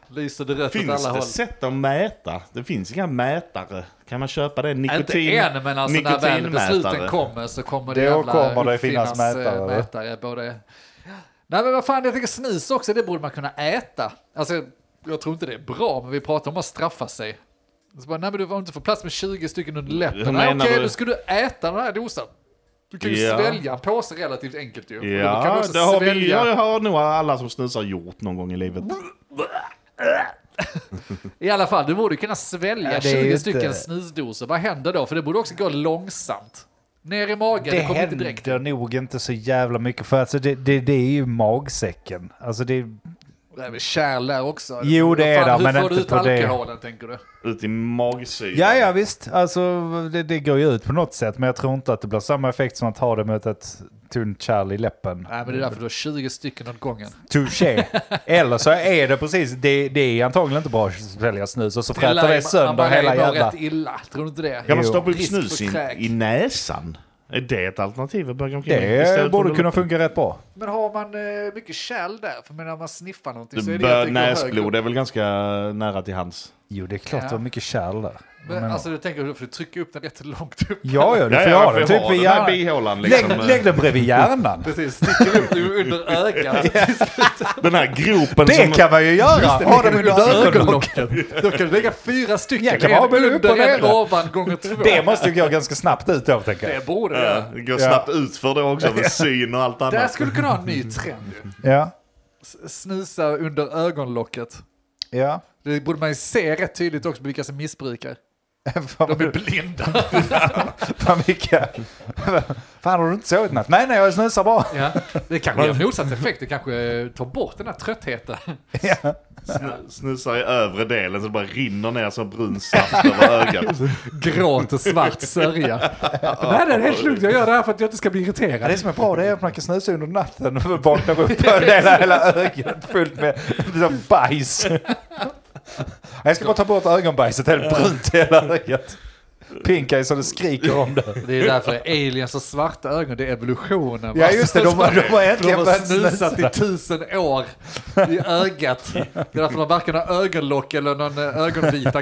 [SPEAKER 2] Lyser det rött åt
[SPEAKER 4] finns
[SPEAKER 2] alla
[SPEAKER 4] det
[SPEAKER 2] håll.
[SPEAKER 4] sätt att mäta? Det finns inga mätare. Kan man köpa det?
[SPEAKER 2] Inte
[SPEAKER 4] Nikotin,
[SPEAKER 2] än, men alltså när väl besluten kommer så kommer det
[SPEAKER 1] Då
[SPEAKER 2] jävla
[SPEAKER 1] kommer det finnas
[SPEAKER 2] uppfinnas, eh,
[SPEAKER 1] mätare, eller?
[SPEAKER 2] mätare både... Nej men vad fan, jag tänker snus också, det borde man kunna äta. Alltså, jag tror inte det är bra, men vi pratar om att straffa sig. Så bara, nej men du har inte fått plats med 20 stycken under läppen. Nej,
[SPEAKER 4] menar
[SPEAKER 2] okej,
[SPEAKER 4] du?
[SPEAKER 2] nu ska du äta den här dosan. Du kan ju
[SPEAKER 4] Ja.
[SPEAKER 2] svälja en påse relativt enkelt ju. Och då kan du
[SPEAKER 4] Ja,
[SPEAKER 2] också
[SPEAKER 4] det har, vi,
[SPEAKER 2] svälja-
[SPEAKER 4] ja, det har nog alla som snusar gjort någon gång i livet.
[SPEAKER 2] I alla fall, du borde kunna svälja
[SPEAKER 1] Ja, det är ju
[SPEAKER 2] 20
[SPEAKER 1] inte-
[SPEAKER 2] stycken snusdosor. Vad händer då? För det borde också gå långsamt. Ner i magen, det,
[SPEAKER 1] Det
[SPEAKER 2] kommer inte direkt.
[SPEAKER 1] händer nog inte så jävla mycket för alltså det, det, det är ju magsäcken. Alltså det,
[SPEAKER 2] Det är väl kärl där också?
[SPEAKER 1] Jo, det är
[SPEAKER 2] Vad
[SPEAKER 1] det, men
[SPEAKER 2] Hur får du
[SPEAKER 1] inte
[SPEAKER 2] ut
[SPEAKER 1] på det.
[SPEAKER 2] alkoholen, tänker du?
[SPEAKER 4] Ut i magsyran.
[SPEAKER 1] Ja, ja visst. Alltså, det, det går ju ut på något sätt, men jag tror inte att det blir samma effekt som att ha det med ett tunt kärl i läppen.
[SPEAKER 2] Nej, men det är därför du har 20 stycken åt gången.
[SPEAKER 1] Touché. Eller så är det precis, det, det är antagligen inte bra att svälja snus och så fräter det sönder hela
[SPEAKER 2] Man
[SPEAKER 1] jävla...
[SPEAKER 2] rätt illa, tror du inte det?
[SPEAKER 4] Kan man
[SPEAKER 1] Jo.
[SPEAKER 4] stoppa upp
[SPEAKER 2] Risk
[SPEAKER 4] snus
[SPEAKER 2] för
[SPEAKER 4] i,
[SPEAKER 2] kräk.
[SPEAKER 4] i näsan? Är det ett alternativ att böga omkring med? Istället för
[SPEAKER 1] Det borde
[SPEAKER 4] att-
[SPEAKER 1] kunna funka rätt bra.
[SPEAKER 2] Men har man eh, mycket kärl där, för när man sniffar någonting så är det ju att
[SPEAKER 4] Bö-
[SPEAKER 2] det går högre upp.
[SPEAKER 4] Näsblod är väl ganska nära till hands.
[SPEAKER 1] Jo, det är klart
[SPEAKER 2] Ja.
[SPEAKER 1] det var mycket kärl där.
[SPEAKER 2] Men,
[SPEAKER 1] Men-
[SPEAKER 2] alltså du tänker hur du trycker upp den rätt långt upp.
[SPEAKER 1] Ja, ja, du får
[SPEAKER 4] jag
[SPEAKER 1] ha
[SPEAKER 4] får
[SPEAKER 1] den typ
[SPEAKER 4] ha
[SPEAKER 1] vid
[SPEAKER 4] den här
[SPEAKER 1] hjärnan.
[SPEAKER 4] bihålan liksom.
[SPEAKER 1] Lägg, lägg den bredvid hjärnan.
[SPEAKER 2] Precis, sticker upp den under ögat.
[SPEAKER 4] Den här gropen som...
[SPEAKER 1] Det kan man ju göra! Ha den under ögonlocken.
[SPEAKER 2] Då kan du lägga fyra stycken.
[SPEAKER 1] Ja, kan man ha både upp och
[SPEAKER 2] under, en
[SPEAKER 1] ner.
[SPEAKER 2] ovan, gånger två.
[SPEAKER 1] Det måste ju gå ganska snabbt ut då, tänker jag.
[SPEAKER 2] Det borde
[SPEAKER 4] Ja,
[SPEAKER 2] det.
[SPEAKER 4] det går snabbt ut för det också med syn och allt
[SPEAKER 2] Där
[SPEAKER 4] annat.
[SPEAKER 2] skulle du kunna ha en ny trend. ju.
[SPEAKER 1] Ja.
[SPEAKER 2] S- Snusa under ögonlocket.
[SPEAKER 1] Ja.
[SPEAKER 2] Det borde man ju se rätt tydligt också vilka som missbrukar.
[SPEAKER 1] Fan,
[SPEAKER 2] De är blinda.
[SPEAKER 1] Fan vilka... Fan har du inte sovit natt? Nej nej jag snusar bara.
[SPEAKER 2] Ja, det kanske ger motsatt effekt. Det kanske eh, tar bort den här tröttheten.
[SPEAKER 4] Snu- Snusar i övre delen så det bara rinner ner som brun saft över ögat.
[SPEAKER 2] Gråt och svart sörja. Nej, det är helt lugnt. Jag gör det här för att jag inte ska bli irriterad.
[SPEAKER 1] Det som är bra det är att man kan snusa under natten och vaknar upp och delar hela ögat fullt med liksom, bajs. Jag ska bara ta bort ögonbajset helt brunt i hela ögat. Pinka är så det skriker om det.
[SPEAKER 2] Det är därför aliens har svarta ögon, det är evolutionen.
[SPEAKER 1] Ja just det, de, de har äntligen
[SPEAKER 2] de har
[SPEAKER 1] börjat
[SPEAKER 2] snusat i
[SPEAKER 1] snusa.
[SPEAKER 2] tusen år i ögat. Det är därför de varken har ögonlock eller någon eh, ögonvita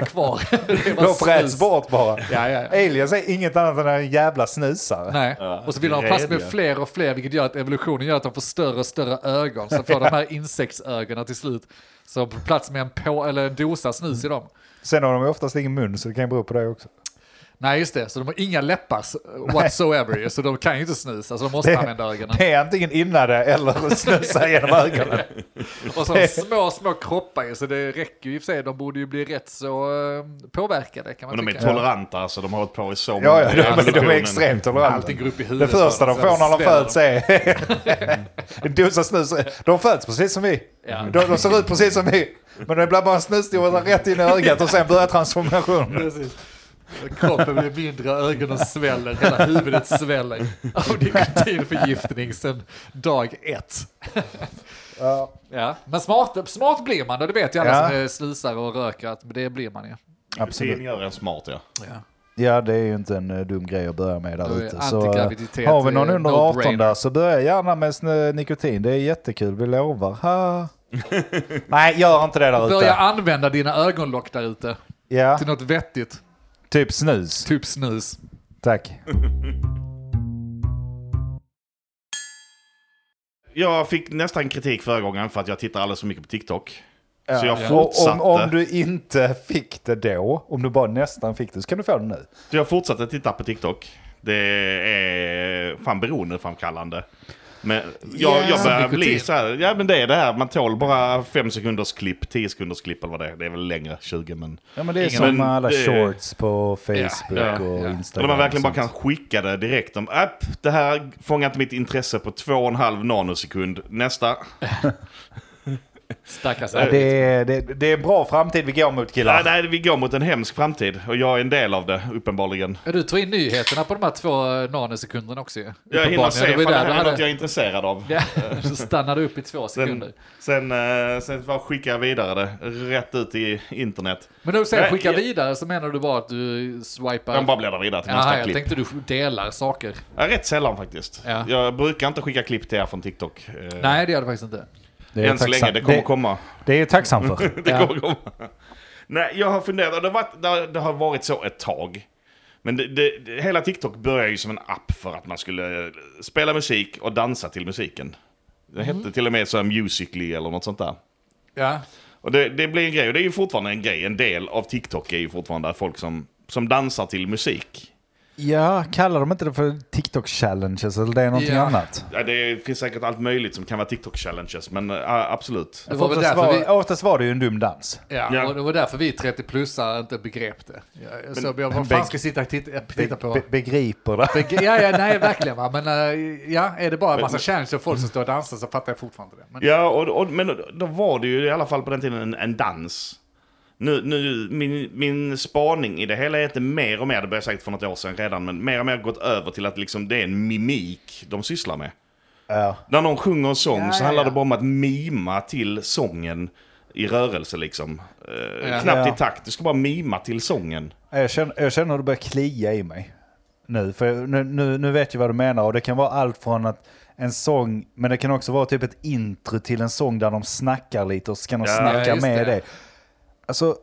[SPEAKER 2] kvar. Det är bara
[SPEAKER 1] De fräts
[SPEAKER 2] snus.
[SPEAKER 1] bort bara.
[SPEAKER 2] Ja, ja, ja.
[SPEAKER 1] Aliens är inget annat än en jävla snusare.
[SPEAKER 2] Nej. Och så vill de ha plats med fler och fler, vilket gör att evolutionen gör att de får större och större ögon. Så får de här insektsögonen till slut. Så får plats med en, på, eller en dosa snus i dem.
[SPEAKER 1] Sen har de oftast ingen mun så det kan ju bero på det också.
[SPEAKER 2] Nej, just det. Så de har inga läppar s- whatsoever, ju, så de kan ju inte snusa, så de måste
[SPEAKER 1] Det-
[SPEAKER 2] använda ögonen.
[SPEAKER 1] Det är antingen innan det eller snusa genom ögonen.
[SPEAKER 2] Och så har de små, små kroppar ju, så det räcker ju i och för sig. De borde ju bli rätt så eh, påverkade, kan man
[SPEAKER 4] Men de är
[SPEAKER 2] tycka.
[SPEAKER 4] toleranta alltså, de har hållit på i så många
[SPEAKER 1] Ja, ja, de, de är
[SPEAKER 4] evolutionen.
[SPEAKER 1] extremt toleranta.
[SPEAKER 2] Allting går upp i
[SPEAKER 1] Det
[SPEAKER 2] huvudet.
[SPEAKER 1] första de
[SPEAKER 2] så här,
[SPEAKER 1] får när de
[SPEAKER 2] sväller
[SPEAKER 1] föds är en dosa snus. De föds precis som vi.
[SPEAKER 2] Ja.
[SPEAKER 1] De, de ser ut precis som vi. Men det blir bara en snusdosa rätt in i ögat och sen börjar transformationen.
[SPEAKER 2] Precis. Kroppen blir mindre, ögonen sväller, hela huvudet sväller av nikotinförgiftning sedan dag ett.
[SPEAKER 1] Ja.
[SPEAKER 2] Ja. Men smart, smart blir man, och det vet ju alla
[SPEAKER 1] Ja.
[SPEAKER 2] som är snusare och röker, att det blir man ju.
[SPEAKER 4] Nikotin gör en smart ja.
[SPEAKER 2] Ja.
[SPEAKER 1] Ja, det är ju inte en eh, dum grej att börja med
[SPEAKER 2] Då
[SPEAKER 1] där
[SPEAKER 2] är
[SPEAKER 1] ute. Så, eh,
[SPEAKER 2] antigraviditet,
[SPEAKER 1] har vi någon
[SPEAKER 2] eh,
[SPEAKER 1] under
[SPEAKER 2] no-brainer.
[SPEAKER 1] 18 där så börja gärna med snö, nikotin. Det är jättekul, vi lovar. Ha. Nej, gör inte det där
[SPEAKER 2] Börja
[SPEAKER 1] ute.
[SPEAKER 2] använda dina ögonlock där ute
[SPEAKER 1] Ja,
[SPEAKER 2] till något vettigt,
[SPEAKER 1] typ snus.
[SPEAKER 2] typ snus.
[SPEAKER 1] Tack.
[SPEAKER 4] Jag fick nästan kritik förra gången för att jag tittar alldeles för mycket på TikTok. Så jag
[SPEAKER 1] Ja.
[SPEAKER 4] fortsatte.
[SPEAKER 1] Om, om du inte fick det då, om du bara nästan fick det, så kan du få det nu.
[SPEAKER 4] Så jag fortsatte titta på TikTok. Det är fan beroendeframkallande. Men jag,
[SPEAKER 1] Ja.
[SPEAKER 4] jag börjar
[SPEAKER 2] Nikotin.
[SPEAKER 4] bli så här, ja men det är det här, man tål bara fem sekunders klipp, 10 sekunders klipp eller vad det är. Det är väl längre, 20 men...
[SPEAKER 1] Ja, men det är
[SPEAKER 4] Ingen-
[SPEAKER 1] som
[SPEAKER 4] Men
[SPEAKER 1] alla
[SPEAKER 4] det-
[SPEAKER 1] shorts på Facebook
[SPEAKER 4] Ja, ja,
[SPEAKER 1] och
[SPEAKER 2] ja.
[SPEAKER 1] Instagram.
[SPEAKER 4] Eller man verkligen bara
[SPEAKER 1] och
[SPEAKER 4] kan
[SPEAKER 1] sånt.
[SPEAKER 4] skicka det direkt. Om, app, det här fångar inte mitt intresse på två och en halv nanosekund. Nästa.
[SPEAKER 2] Stackars
[SPEAKER 1] Ja, det, är, det, det är en bra framtid vi går mot killar.
[SPEAKER 4] Nej, nej, vi går mot en hemsk framtid. Och jag är en del av det, uppenbarligen.
[SPEAKER 2] Ja, Du tog in nyheterna på de här två eh, nanosekunderna också ju.
[SPEAKER 4] Jag hinner
[SPEAKER 2] Uppenbarligen,
[SPEAKER 4] se
[SPEAKER 2] det var ju
[SPEAKER 4] ifall
[SPEAKER 2] där
[SPEAKER 4] det här
[SPEAKER 2] du
[SPEAKER 4] är något
[SPEAKER 2] hade...
[SPEAKER 4] jag är intresserad av.
[SPEAKER 2] Ja, så stannade du upp i två sekunder.
[SPEAKER 4] Sen, sen, eh, sen bara skickar jag vidare det rätt ut i internet.
[SPEAKER 2] Men när du säger
[SPEAKER 4] Nej,
[SPEAKER 2] skicka
[SPEAKER 4] jag-
[SPEAKER 2] vidare så menar du bara att du swipar?
[SPEAKER 4] Den bara bläddrar vidare till nästa
[SPEAKER 2] Jaha, jag
[SPEAKER 4] klipp.
[SPEAKER 2] tänkte du delar saker.
[SPEAKER 4] Ja, rätt sällan faktiskt.
[SPEAKER 2] Ja.
[SPEAKER 4] Jag brukar inte skicka klipp till er från TikTok. eh,
[SPEAKER 2] Nej, det gör du faktiskt inte.
[SPEAKER 1] Det är
[SPEAKER 4] Än så
[SPEAKER 1] tacksam-
[SPEAKER 4] länge, det kommer
[SPEAKER 1] det,
[SPEAKER 4] komma.
[SPEAKER 1] Det är jag tacksam för.
[SPEAKER 4] Det
[SPEAKER 2] Ja.
[SPEAKER 4] kommer komma. Nej, jag har funderat. Det har, varit, det, har, det har varit så ett tag. Men det, det, det, hela TikTok började ju som en app för att man skulle eh, spela musik och dansa till musiken. Det hette till och med så här Musically eller något sånt där.
[SPEAKER 2] Ja.
[SPEAKER 4] Och det, det blir en grej, och det är ju fortfarande en grej. En del av TikTok är ju fortfarande folk som, som dansar till musik.
[SPEAKER 1] Ja, kallar de inte det för TikTok-challenges eller det är någonting
[SPEAKER 2] Ja.
[SPEAKER 1] annat?
[SPEAKER 4] Ja, det finns säkert allt möjligt som kan vara TikTok-challenges, men eh, absolut.
[SPEAKER 2] Det var väl
[SPEAKER 1] oftast,
[SPEAKER 2] därför vi-
[SPEAKER 1] var, oftast var det ju en dum dans.
[SPEAKER 2] Ja,
[SPEAKER 4] Ja.
[SPEAKER 2] och det var därför vi 30-plussare inte begrep det. Jag, jag såg, jag, vad
[SPEAKER 1] beg-
[SPEAKER 2] fan ska jag sitta och titta, titta på?
[SPEAKER 1] Be, begriper det.
[SPEAKER 2] Beg- ja, ja, nej, verkligen. Va? Men eh, ja, är det bara en massa challenges och folk som står och dansar så fattar jag fortfarande det. Men,
[SPEAKER 4] Ja, och, och, men då var det ju i alla fall på den tiden en, en dans. Nu, nu, min, min spaning i det hela är att det mer och mer, det började jag säkert för något år sedan redan, men mer och mer gått över till att liksom det är en mimik de sysslar med.
[SPEAKER 1] Ja.
[SPEAKER 4] När någon sjunger en sång
[SPEAKER 2] Ja,
[SPEAKER 4] så
[SPEAKER 2] ja,
[SPEAKER 4] handlar
[SPEAKER 2] ja.
[SPEAKER 4] det bara om att mima till sången i rörelse liksom. Eh,
[SPEAKER 2] Ja.
[SPEAKER 4] knappt
[SPEAKER 1] Ja.
[SPEAKER 4] i takt, du ska bara mima till sången.
[SPEAKER 1] Jag känner, jag känner hur det börjar klia i mig nu. För nu, nu, nu vet jag vad du menar och det kan vara allt från att en sång, men det kan också vara typ ett intro till en sång där de snackar lite och så kan de
[SPEAKER 4] Ja,
[SPEAKER 1] snacka
[SPEAKER 2] just
[SPEAKER 1] med
[SPEAKER 2] det.
[SPEAKER 1] dig. Alltså,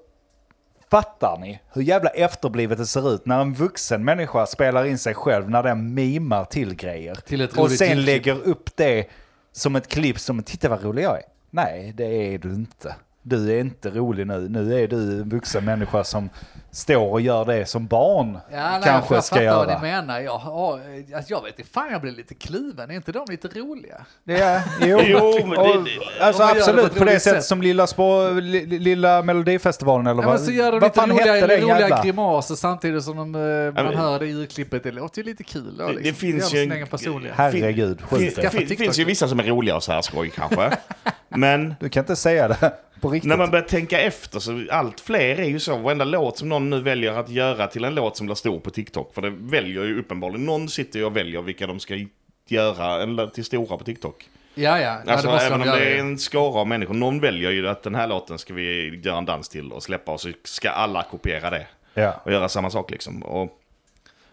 [SPEAKER 1] fattar ni hur jävla efterblivet det ser ut när en vuxen människa spelar in sig själv när den mimar till grejer?
[SPEAKER 2] Till ett
[SPEAKER 1] och
[SPEAKER 2] roligt
[SPEAKER 1] sen
[SPEAKER 2] ljudklipp.
[SPEAKER 1] lägger upp det som ett klipp som “titta vad rolig jag är”. Nej, det är du inte. Du är inte rolig nu. Nu är du en vuxen människa som står och gör det som barn
[SPEAKER 2] Ja, nej,
[SPEAKER 1] kanske
[SPEAKER 2] jag
[SPEAKER 1] ska
[SPEAKER 2] fattar vad ni
[SPEAKER 1] göra.
[SPEAKER 2] menar. Jag, har, alltså, jag vet inte, fan jag blir lite kluven. Är inte de lite roliga?
[SPEAKER 1] Ja, jo,
[SPEAKER 4] Jo, men det-
[SPEAKER 1] och,
[SPEAKER 4] det-
[SPEAKER 1] alltså
[SPEAKER 2] om man gör det på
[SPEAKER 1] absolut
[SPEAKER 2] ett
[SPEAKER 1] på det
[SPEAKER 2] roligt
[SPEAKER 1] sättet
[SPEAKER 2] sätt.
[SPEAKER 1] som lilla, spå, li, lilla Melodifestivalen eller
[SPEAKER 2] Ja,
[SPEAKER 1] vad,
[SPEAKER 2] men så gör de
[SPEAKER 1] vad
[SPEAKER 2] lite
[SPEAKER 1] fan
[SPEAKER 2] roliga,
[SPEAKER 1] hette det
[SPEAKER 2] roliga
[SPEAKER 1] jävla?
[SPEAKER 2] grimaser samtidigt som de, eh, man
[SPEAKER 4] men-
[SPEAKER 2] hör det i klippet. Det låter ju lite kul. Då,
[SPEAKER 4] Det-
[SPEAKER 2] liksom.
[SPEAKER 4] det finns
[SPEAKER 2] Gör
[SPEAKER 4] ju
[SPEAKER 2] sin
[SPEAKER 4] en- Alltså,
[SPEAKER 2] egen personliga.
[SPEAKER 1] Herregud,
[SPEAKER 4] Fin,
[SPEAKER 1] skjut
[SPEAKER 2] Skaffa
[SPEAKER 4] det
[SPEAKER 1] det.
[SPEAKER 4] fin,
[SPEAKER 2] TikTok.
[SPEAKER 4] finns ju vissa som är roliga och så här skoj kanske. Men
[SPEAKER 1] Du kan inte säga det på riktigt.
[SPEAKER 4] När man börjar tänka efter så allt fler är ju så. Varenda låt som någon nu väljer att göra till en låt som blir stor på TikTok. För det väljer ju uppenbarligen. Någon sitter ju och väljer vilka de ska göra en, till stora på TikTok.
[SPEAKER 2] Ja, ja. Nej,
[SPEAKER 4] Alltså
[SPEAKER 2] det måste
[SPEAKER 4] även
[SPEAKER 2] de
[SPEAKER 4] om
[SPEAKER 2] göra.
[SPEAKER 4] det är en skara av människor. Någon väljer ju att den här låten ska vi göra en dans till och släppa. Och så ska alla kopiera det.
[SPEAKER 1] ja.
[SPEAKER 4] Och göra samma sak liksom. Och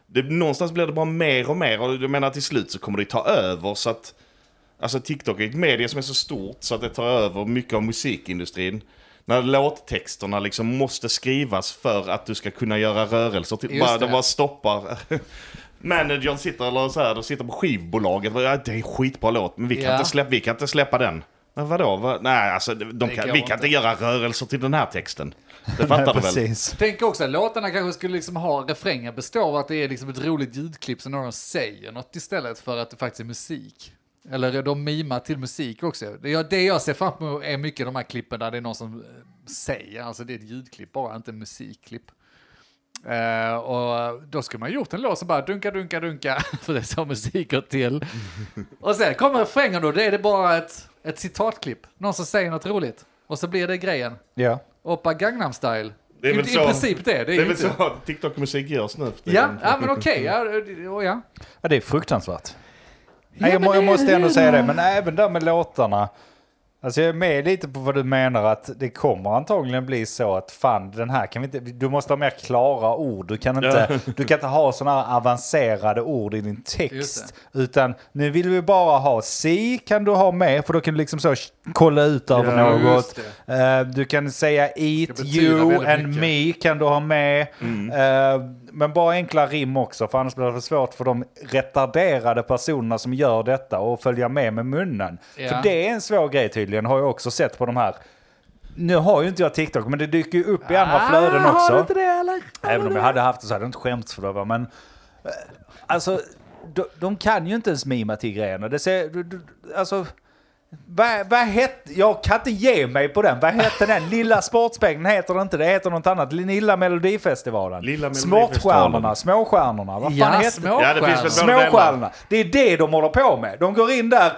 [SPEAKER 4] det, någonstans blir det bara mer och mer. Och jag menar till slut så kommer det ta över. Så att, alltså TikTok är ett medie som är så stort så att det tar över mycket av musikindustrin. När låttexterna liksom måste skrivas för att du ska kunna göra rörelser. Till,
[SPEAKER 2] Just
[SPEAKER 4] bara, de
[SPEAKER 2] det.
[SPEAKER 4] bara stoppar. Managern sitter eller så här, de sitter på skivbolaget. Ja, det är en skitbra låt, men vi kan,
[SPEAKER 2] Ja.
[SPEAKER 4] inte, släppa, vi kan inte släppa den. Men vadå? Vad? Nej, alltså, de
[SPEAKER 2] Det
[SPEAKER 4] kan,
[SPEAKER 2] går
[SPEAKER 4] vi kan inte
[SPEAKER 2] inte.
[SPEAKER 4] göra rörelser till den här texten. Det
[SPEAKER 1] Nej,
[SPEAKER 4] fattar du väl?
[SPEAKER 1] precis.
[SPEAKER 2] Tänk också att låtarna kanske skulle liksom ha, refrängen består av att det är liksom ett roligt ljudklipp som någon säger något istället för att det faktiskt är musik. Eller de mimar till musik också. Det jag, det jag ser fram emot är mycket de här klippen där det är någon som eh, säger, alltså det är ett ljudklipp bara, inte en musikklipp. Eh, och då skulle man gjort en låt som bara dunka, dunka, dunka, för det är så musik går till. Och sen kommer refrängen då, det är det bara ett, ett citatklipp, någon som säger något roligt. Och så blir det grejen.
[SPEAKER 1] Ja.
[SPEAKER 2] Oppa Gangnam style.
[SPEAKER 4] Det är väl
[SPEAKER 2] I,
[SPEAKER 4] så.
[SPEAKER 2] I princip det. Det är,
[SPEAKER 4] Det är
[SPEAKER 2] ju
[SPEAKER 4] väl
[SPEAKER 2] inte...
[SPEAKER 4] så TikTok-musik görs nu för
[SPEAKER 2] Ja,
[SPEAKER 4] tiden.
[SPEAKER 2] ja, men okej. Ja, det- och ja.
[SPEAKER 1] Ja, det är fruktansvärt. nej, jag, må, jag måste ändå säga det, men även där med låtarna. Alltså jag är med lite på vad du menar att det kommer antagligen bli så att fan den här kan vi inte, du måste ha mer klara ord. Du kan inte, du kan inte ha sådana här avancerade ord i din text.
[SPEAKER 2] Just
[SPEAKER 1] Utan nu vill vi bara ha si kan du ha med för då kan du liksom så sh- kolla ut över
[SPEAKER 4] Ja,
[SPEAKER 1] något. Eh, du kan säga eat,
[SPEAKER 2] Det betyder
[SPEAKER 1] you
[SPEAKER 2] väldigt
[SPEAKER 1] and
[SPEAKER 2] mycket.
[SPEAKER 1] me kan du ha med.
[SPEAKER 2] Mm.
[SPEAKER 1] Eh, men bara enkla rim också, för annars blir det för svårt för de retarderade personerna som gör detta och följa med med munnen.
[SPEAKER 2] Ja.
[SPEAKER 1] För det är en svår grej tydligen, har jag också sett på de här. Nu har ju inte jag TikTok, men det dyker ju upp i andra flöden
[SPEAKER 2] Ah,
[SPEAKER 1] också.
[SPEAKER 2] Har du inte det eller?
[SPEAKER 1] Även om jag hade haft det så hade jag inte skämts för det. va, Men eh, alltså, de, de kan ju inte ens mima till grejerna. Det ser, du- du- alltså, vad, vad hette, jag kan inte ge mig på den. Vad hette den? Lilla Sportspegeln heter det inte, det heter något annat. Lilla Melodifestivalen.
[SPEAKER 4] Lilla
[SPEAKER 1] Småstjärnorna, småstjärnorna. Vad fan
[SPEAKER 2] Ja,
[SPEAKER 1] hette
[SPEAKER 2] små
[SPEAKER 4] Ja, det finns väl
[SPEAKER 2] stjärnor.
[SPEAKER 4] både det ena-
[SPEAKER 1] Småstjärnorna. Det är det de håller på med. De går in där,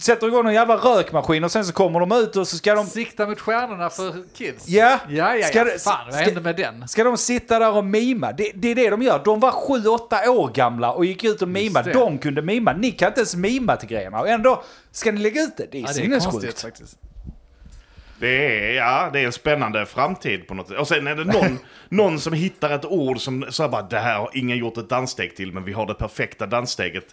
[SPEAKER 1] sätter igång en jävla rökmaskin och sen så kommer de ut och så ska de...
[SPEAKER 2] Sikta mot stjärnorna för kids.
[SPEAKER 1] Ja.
[SPEAKER 2] ja, ja.
[SPEAKER 1] Ska
[SPEAKER 2] ja.
[SPEAKER 1] du-
[SPEAKER 2] Fan, vad
[SPEAKER 1] ska-
[SPEAKER 2] hände med den?
[SPEAKER 1] Ska de sitta där och mima? Det, det är det de gör. De var 7-8 år gamla och gick ut och mimade.
[SPEAKER 2] det.
[SPEAKER 1] De kunde mima. Ni kan inte ens mima till grejerna. Och ändå ska ni lägga ut det. Det är
[SPEAKER 2] Ja, det är konstigt
[SPEAKER 1] sinnessjukt.
[SPEAKER 2] faktiskt.
[SPEAKER 4] Det är, ja, det är en spännande framtid på något sätt. Och sen är det någon, någon som hittar ett ord som så här bara, det här har ingen gjort ett danssteg till, men vi har det perfekta danssteget.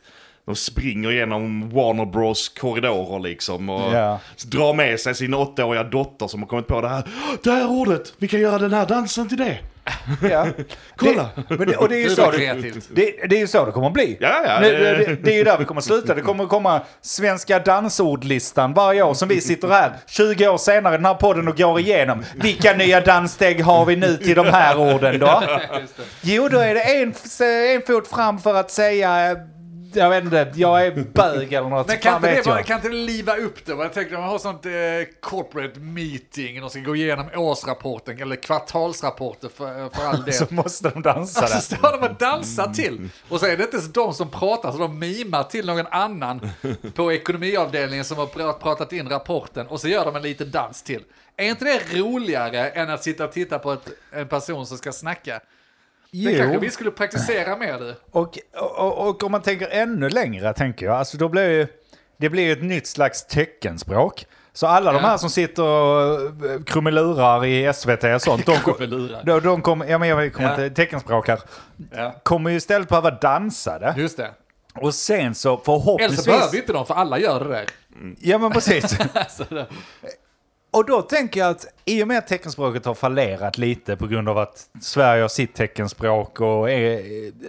[SPEAKER 4] De springer genom Warner Bros korridorer liksom och
[SPEAKER 1] Ja.
[SPEAKER 4] drar med sig sin åttaåriga dotter som har kommit på det här. Det här ordet, vi kan göra den här dansen till det.
[SPEAKER 1] Ja.
[SPEAKER 4] Kolla!
[SPEAKER 1] Det, men det, och det är ju
[SPEAKER 2] Det
[SPEAKER 1] så
[SPEAKER 2] var
[SPEAKER 1] det,
[SPEAKER 2] kreativt.
[SPEAKER 1] det, det är ju så det kommer att bli.
[SPEAKER 4] Ja, ja,
[SPEAKER 1] nu,
[SPEAKER 4] det-
[SPEAKER 1] det, det, är ju där vi kommer att sluta. Det kommer att komma svenska dansordlistan varje år som vi sitter här 20 år senare i den här podden och går igenom. Vilka nya danssteg har vi nu till de här orden då? Jo, då är det en, en fot fram för att säga, eh, jag vet inte, jag är bög eller något.
[SPEAKER 2] Men kan
[SPEAKER 1] Fan
[SPEAKER 2] inte, det,
[SPEAKER 1] vet
[SPEAKER 2] bara-
[SPEAKER 1] jag.
[SPEAKER 2] kan inte det liva upp det? va? Jag tänker om man har sånt eh, corporate meeting, de ska gå igenom årsrapporten eller kvartalsrapporter för, för all del.
[SPEAKER 1] Så måste de dansa
[SPEAKER 2] Alltså, Så
[SPEAKER 1] där.
[SPEAKER 2] står de och dansar till. Och så är det inte ens de som pratar, så de mimar till någon annan på ekonomiavdelningen som har pra- pratat in rapporten. Och så gör de en liten dans till. Är inte det roligare än att sitta och titta på ett, en person som ska snacka? Det kanske vi skulle praktisera mer du.
[SPEAKER 1] Och, och, och om man tänker ännu längre, tänker jag, alltså då blir ju, det blir ju ett nytt slags teckenspråk. Så alla de
[SPEAKER 2] Ja.
[SPEAKER 1] här som sitter och eh, krumelurar i SVT och sånt, de,
[SPEAKER 2] Krumelurar.
[SPEAKER 1] de, de kommer, ja men jag kommer
[SPEAKER 2] Ja.
[SPEAKER 1] inte, teckenspråk här,
[SPEAKER 2] Ja.
[SPEAKER 1] kommer ju istället behöva dansade.
[SPEAKER 2] Just det.
[SPEAKER 1] Och sen så
[SPEAKER 2] Eller
[SPEAKER 1] förhoppningsvis...
[SPEAKER 2] så behöver vi inte dem, för alla gör det där.
[SPEAKER 1] Ja men precis.
[SPEAKER 2] Alltså, det-
[SPEAKER 1] Och då tänker jag att i och med att teckenspråket har fallerat lite på grund av att Sverige har sitt teckenspråk och eh,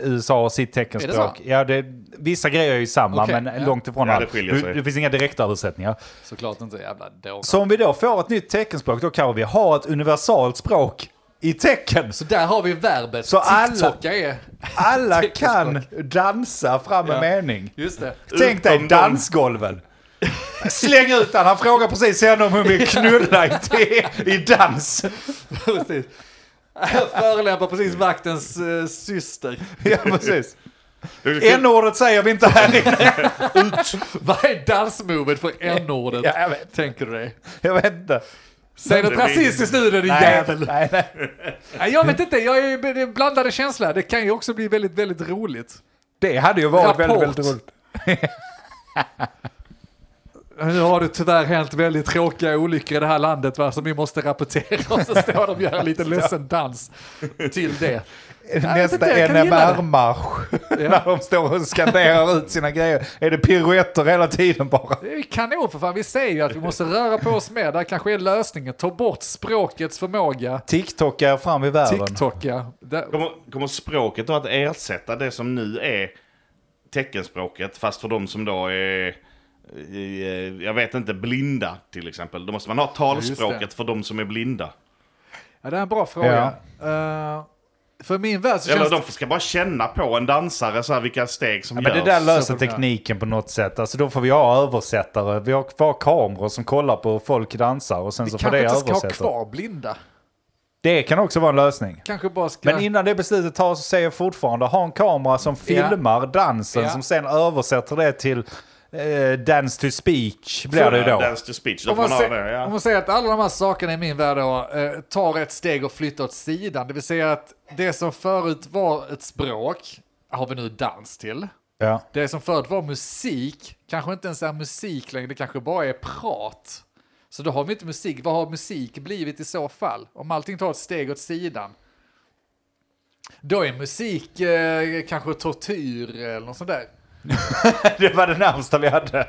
[SPEAKER 1] USA har sitt teckenspråk.
[SPEAKER 2] så?
[SPEAKER 1] ja, det, vissa grejer är ju samma
[SPEAKER 2] Okej,
[SPEAKER 1] men
[SPEAKER 2] ja.
[SPEAKER 1] långt ifrån
[SPEAKER 4] Ja, det
[SPEAKER 1] allt.
[SPEAKER 4] skiljer sig.
[SPEAKER 1] det finns inga direktöversättningar.
[SPEAKER 2] Såklart inte jävla dårar.
[SPEAKER 1] Så om vi då får ett nytt teckenspråk då kan vi ha ett universalt språk i tecken.
[SPEAKER 2] Så där har vi verbet.
[SPEAKER 1] Så alla-
[SPEAKER 2] TikToka är...
[SPEAKER 1] Alla kan
[SPEAKER 2] Teckenspråk.
[SPEAKER 1] dansa fram en
[SPEAKER 2] Ja.
[SPEAKER 1] mening.
[SPEAKER 2] Just det.
[SPEAKER 1] Tänk dig
[SPEAKER 4] Utom de-
[SPEAKER 1] dansgolven. Släng ut han, han frågar precis henne om hon vill knulla i, te- i dans.
[SPEAKER 2] Precis. Jag förolämpar precis vaktens eh, syster.
[SPEAKER 1] Ja, precis.
[SPEAKER 4] Det är
[SPEAKER 1] N-ordet säger vi inte här inne.
[SPEAKER 2] Vad är dansmovet för n-ordet?
[SPEAKER 1] Ja, jag vet.
[SPEAKER 2] Tänker du dig?
[SPEAKER 1] Jag vet inte.
[SPEAKER 2] Säg något
[SPEAKER 4] det blir-
[SPEAKER 2] rasistiskt nu då din jävel!
[SPEAKER 1] nej, nej.
[SPEAKER 2] Nej, Jag vet inte, jag är det är blandade känslor. Det kan ju också bli väldigt, väldigt roligt.
[SPEAKER 1] Det hade ju varit
[SPEAKER 2] Rapport.
[SPEAKER 1] väldigt, väldigt roligt.
[SPEAKER 2] Nu har det tyvärr hänt väldigt tråkiga olyckor i det här landet va, som vi måste rapportera. Och så står de och gör en liten ledsen dans till det.
[SPEAKER 1] Nästa
[SPEAKER 2] inte, jag kan gilla det.
[SPEAKER 1] NMR-marsch. När de står och skanderar ut sina grejer. Är det piruetter hela tiden bara?
[SPEAKER 2] Det är ju kanon för fan, vi säger ju att vi måste röra på oss mer. Där kanske är lösningen. Ta bort språkets förmåga.
[SPEAKER 1] TikTok är fram i världen.
[SPEAKER 2] TikTok ja. Där-
[SPEAKER 4] Kommer, kommer språket då att ersätta det som nu är teckenspråket, fast för de som då är, i, eh, jag vet inte, blinda till exempel. Då måste man ha
[SPEAKER 2] Ja, just
[SPEAKER 4] talspråket för de som är blinda.
[SPEAKER 2] Ja, det är en bra fråga. Eh, för min värld så
[SPEAKER 4] Eller
[SPEAKER 2] känns det...
[SPEAKER 4] de ska bara känna på en dansare så här vilka steg som
[SPEAKER 1] Ja,
[SPEAKER 4] görs.
[SPEAKER 1] men det där
[SPEAKER 2] så
[SPEAKER 1] löser
[SPEAKER 2] får vi-
[SPEAKER 1] tekniken på något sätt. Alltså då får vi ha översättare. Vi har kvar kameror som kollar på hur folk dansar och sen så får
[SPEAKER 2] Kanske
[SPEAKER 1] det
[SPEAKER 2] inte ska ha
[SPEAKER 1] översätta.
[SPEAKER 2] kvar blinda.
[SPEAKER 1] Det kan också vara en lösning.
[SPEAKER 2] Kanske bara ska...
[SPEAKER 1] Men innan det beslutet tas så säger jag fortfarande ha en kamera som filmar dansen
[SPEAKER 2] Ja.
[SPEAKER 1] som sen översätter det till eh, dance to speech blir det ju då.
[SPEAKER 4] Dance to speech, då
[SPEAKER 2] om,
[SPEAKER 4] får
[SPEAKER 2] man
[SPEAKER 4] man ha
[SPEAKER 2] se,
[SPEAKER 4] det.
[SPEAKER 2] om
[SPEAKER 4] Ja.
[SPEAKER 2] man säger att alla de här sakerna i min värld då, eh, tar ett steg och flyttar åt sidan. Det vill säga att det som förut var ett språk har vi nu dans till.
[SPEAKER 1] Ja.
[SPEAKER 2] Det som förut var musik kanske inte ens är musik längre. Det kanske bara är prat. Så då har vi inte musik. Vad har musik blivit i så fall? Om allting tar ett steg åt sidan. Då är musik eh, kanske tortyr eller något sånt där.
[SPEAKER 1] Det var det närmsta vi hade.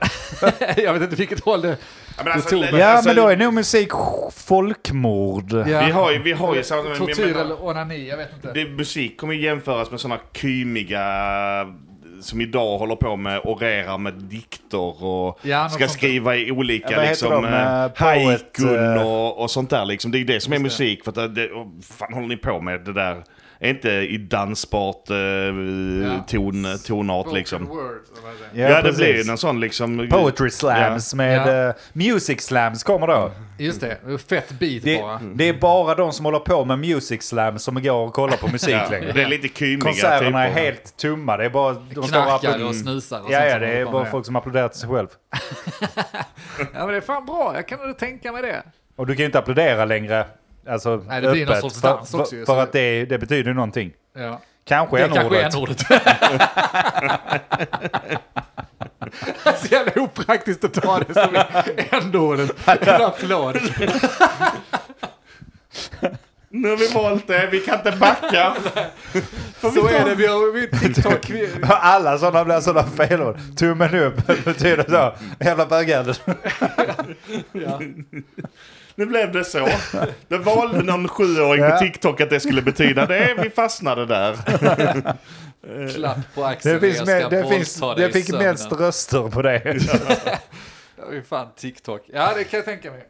[SPEAKER 2] Jag vet inte vilket håll det...
[SPEAKER 4] Ja, men
[SPEAKER 2] det tog-
[SPEAKER 4] det-
[SPEAKER 1] Ja,
[SPEAKER 4] alltså,
[SPEAKER 1] men då är nog musik folkmord.
[SPEAKER 4] Vi har ju, vi har ju samma... men jag
[SPEAKER 2] Tortyr
[SPEAKER 4] menar-
[SPEAKER 2] eller onani, jag vet inte.
[SPEAKER 4] Det, musik kommer ju jämföras med sådana kymiga eh, som idag håller på med orerar med dikter och
[SPEAKER 2] Ja, något
[SPEAKER 4] ska
[SPEAKER 2] sånt.
[SPEAKER 4] skriva i
[SPEAKER 1] Ja,
[SPEAKER 4] olika
[SPEAKER 1] vad heter
[SPEAKER 4] liksom,
[SPEAKER 1] de?
[SPEAKER 4] eh,
[SPEAKER 1] Eh, poet,
[SPEAKER 4] haikun
[SPEAKER 1] eh,
[SPEAKER 4] och, och sånt där. Liksom. Det är ju det som är musik. För att eh, det- det, och fan håller ni på med det där? Är inte i dansbart eh, ton, tonart liksom? Ja, det
[SPEAKER 1] precis.
[SPEAKER 4] blir ju någon sån liksom...
[SPEAKER 1] Poetry slams med
[SPEAKER 2] Ja.
[SPEAKER 1] eh, music slams kommer då.
[SPEAKER 2] Just det, fett beat
[SPEAKER 1] Det,
[SPEAKER 2] bara.
[SPEAKER 4] Mm.
[SPEAKER 1] det är bara de som håller på med music slams som går och kollar på musik
[SPEAKER 4] Ja,
[SPEAKER 1] längre.
[SPEAKER 4] det är lite kymiga
[SPEAKER 1] Konserterna är
[SPEAKER 4] typer.
[SPEAKER 1] helt tomma. Det är bara... De står och
[SPEAKER 2] Knarkar
[SPEAKER 1] applåderar.
[SPEAKER 2] och snusar och
[SPEAKER 1] Ja,
[SPEAKER 2] sånt
[SPEAKER 1] ja,
[SPEAKER 2] som
[SPEAKER 1] det
[SPEAKER 2] håller
[SPEAKER 1] är
[SPEAKER 2] på
[SPEAKER 1] bara
[SPEAKER 2] med.
[SPEAKER 1] folk som applåderar till sig själv.
[SPEAKER 2] Ja, men det är fan bra. Jag kan nog tänka mig det.
[SPEAKER 1] Och du kan ju inte applådera längre. Alltså,
[SPEAKER 2] Nej, det blir någon
[SPEAKER 1] öppet,
[SPEAKER 2] sorts
[SPEAKER 1] för-
[SPEAKER 2] dans också ju,
[SPEAKER 1] För,
[SPEAKER 2] så-
[SPEAKER 1] för att det, det betyder ju någonting.
[SPEAKER 2] Ja.
[SPEAKER 1] Kanske
[SPEAKER 2] Det är kanske
[SPEAKER 1] n-ordet.
[SPEAKER 2] är ordet Så jävla opraktiskt att ta det som n-ordet. En applåd.
[SPEAKER 4] Nu har vi valt det, vi kan inte backa.
[SPEAKER 2] Så är det, vi har vi har TikTok. vi-
[SPEAKER 1] Alla sådana blir sådana felord. Tummen upp betyder så. Jävla bögädel.
[SPEAKER 2] Ja.
[SPEAKER 4] nu blev det så. Det valde någon sjuåring
[SPEAKER 1] Ja.
[SPEAKER 4] på TikTok att det skulle betyda det. Vi fastnade där.
[SPEAKER 5] Klapp på axeln
[SPEAKER 1] Det, finns
[SPEAKER 5] jag
[SPEAKER 1] med,
[SPEAKER 5] ska
[SPEAKER 1] det, finns,
[SPEAKER 5] våldta dig
[SPEAKER 1] det
[SPEAKER 5] i
[SPEAKER 1] fick
[SPEAKER 5] sömnen.
[SPEAKER 1] mest röster på det.
[SPEAKER 2] Det är ju fan TikTok. Ja, det kan jag tänka mig.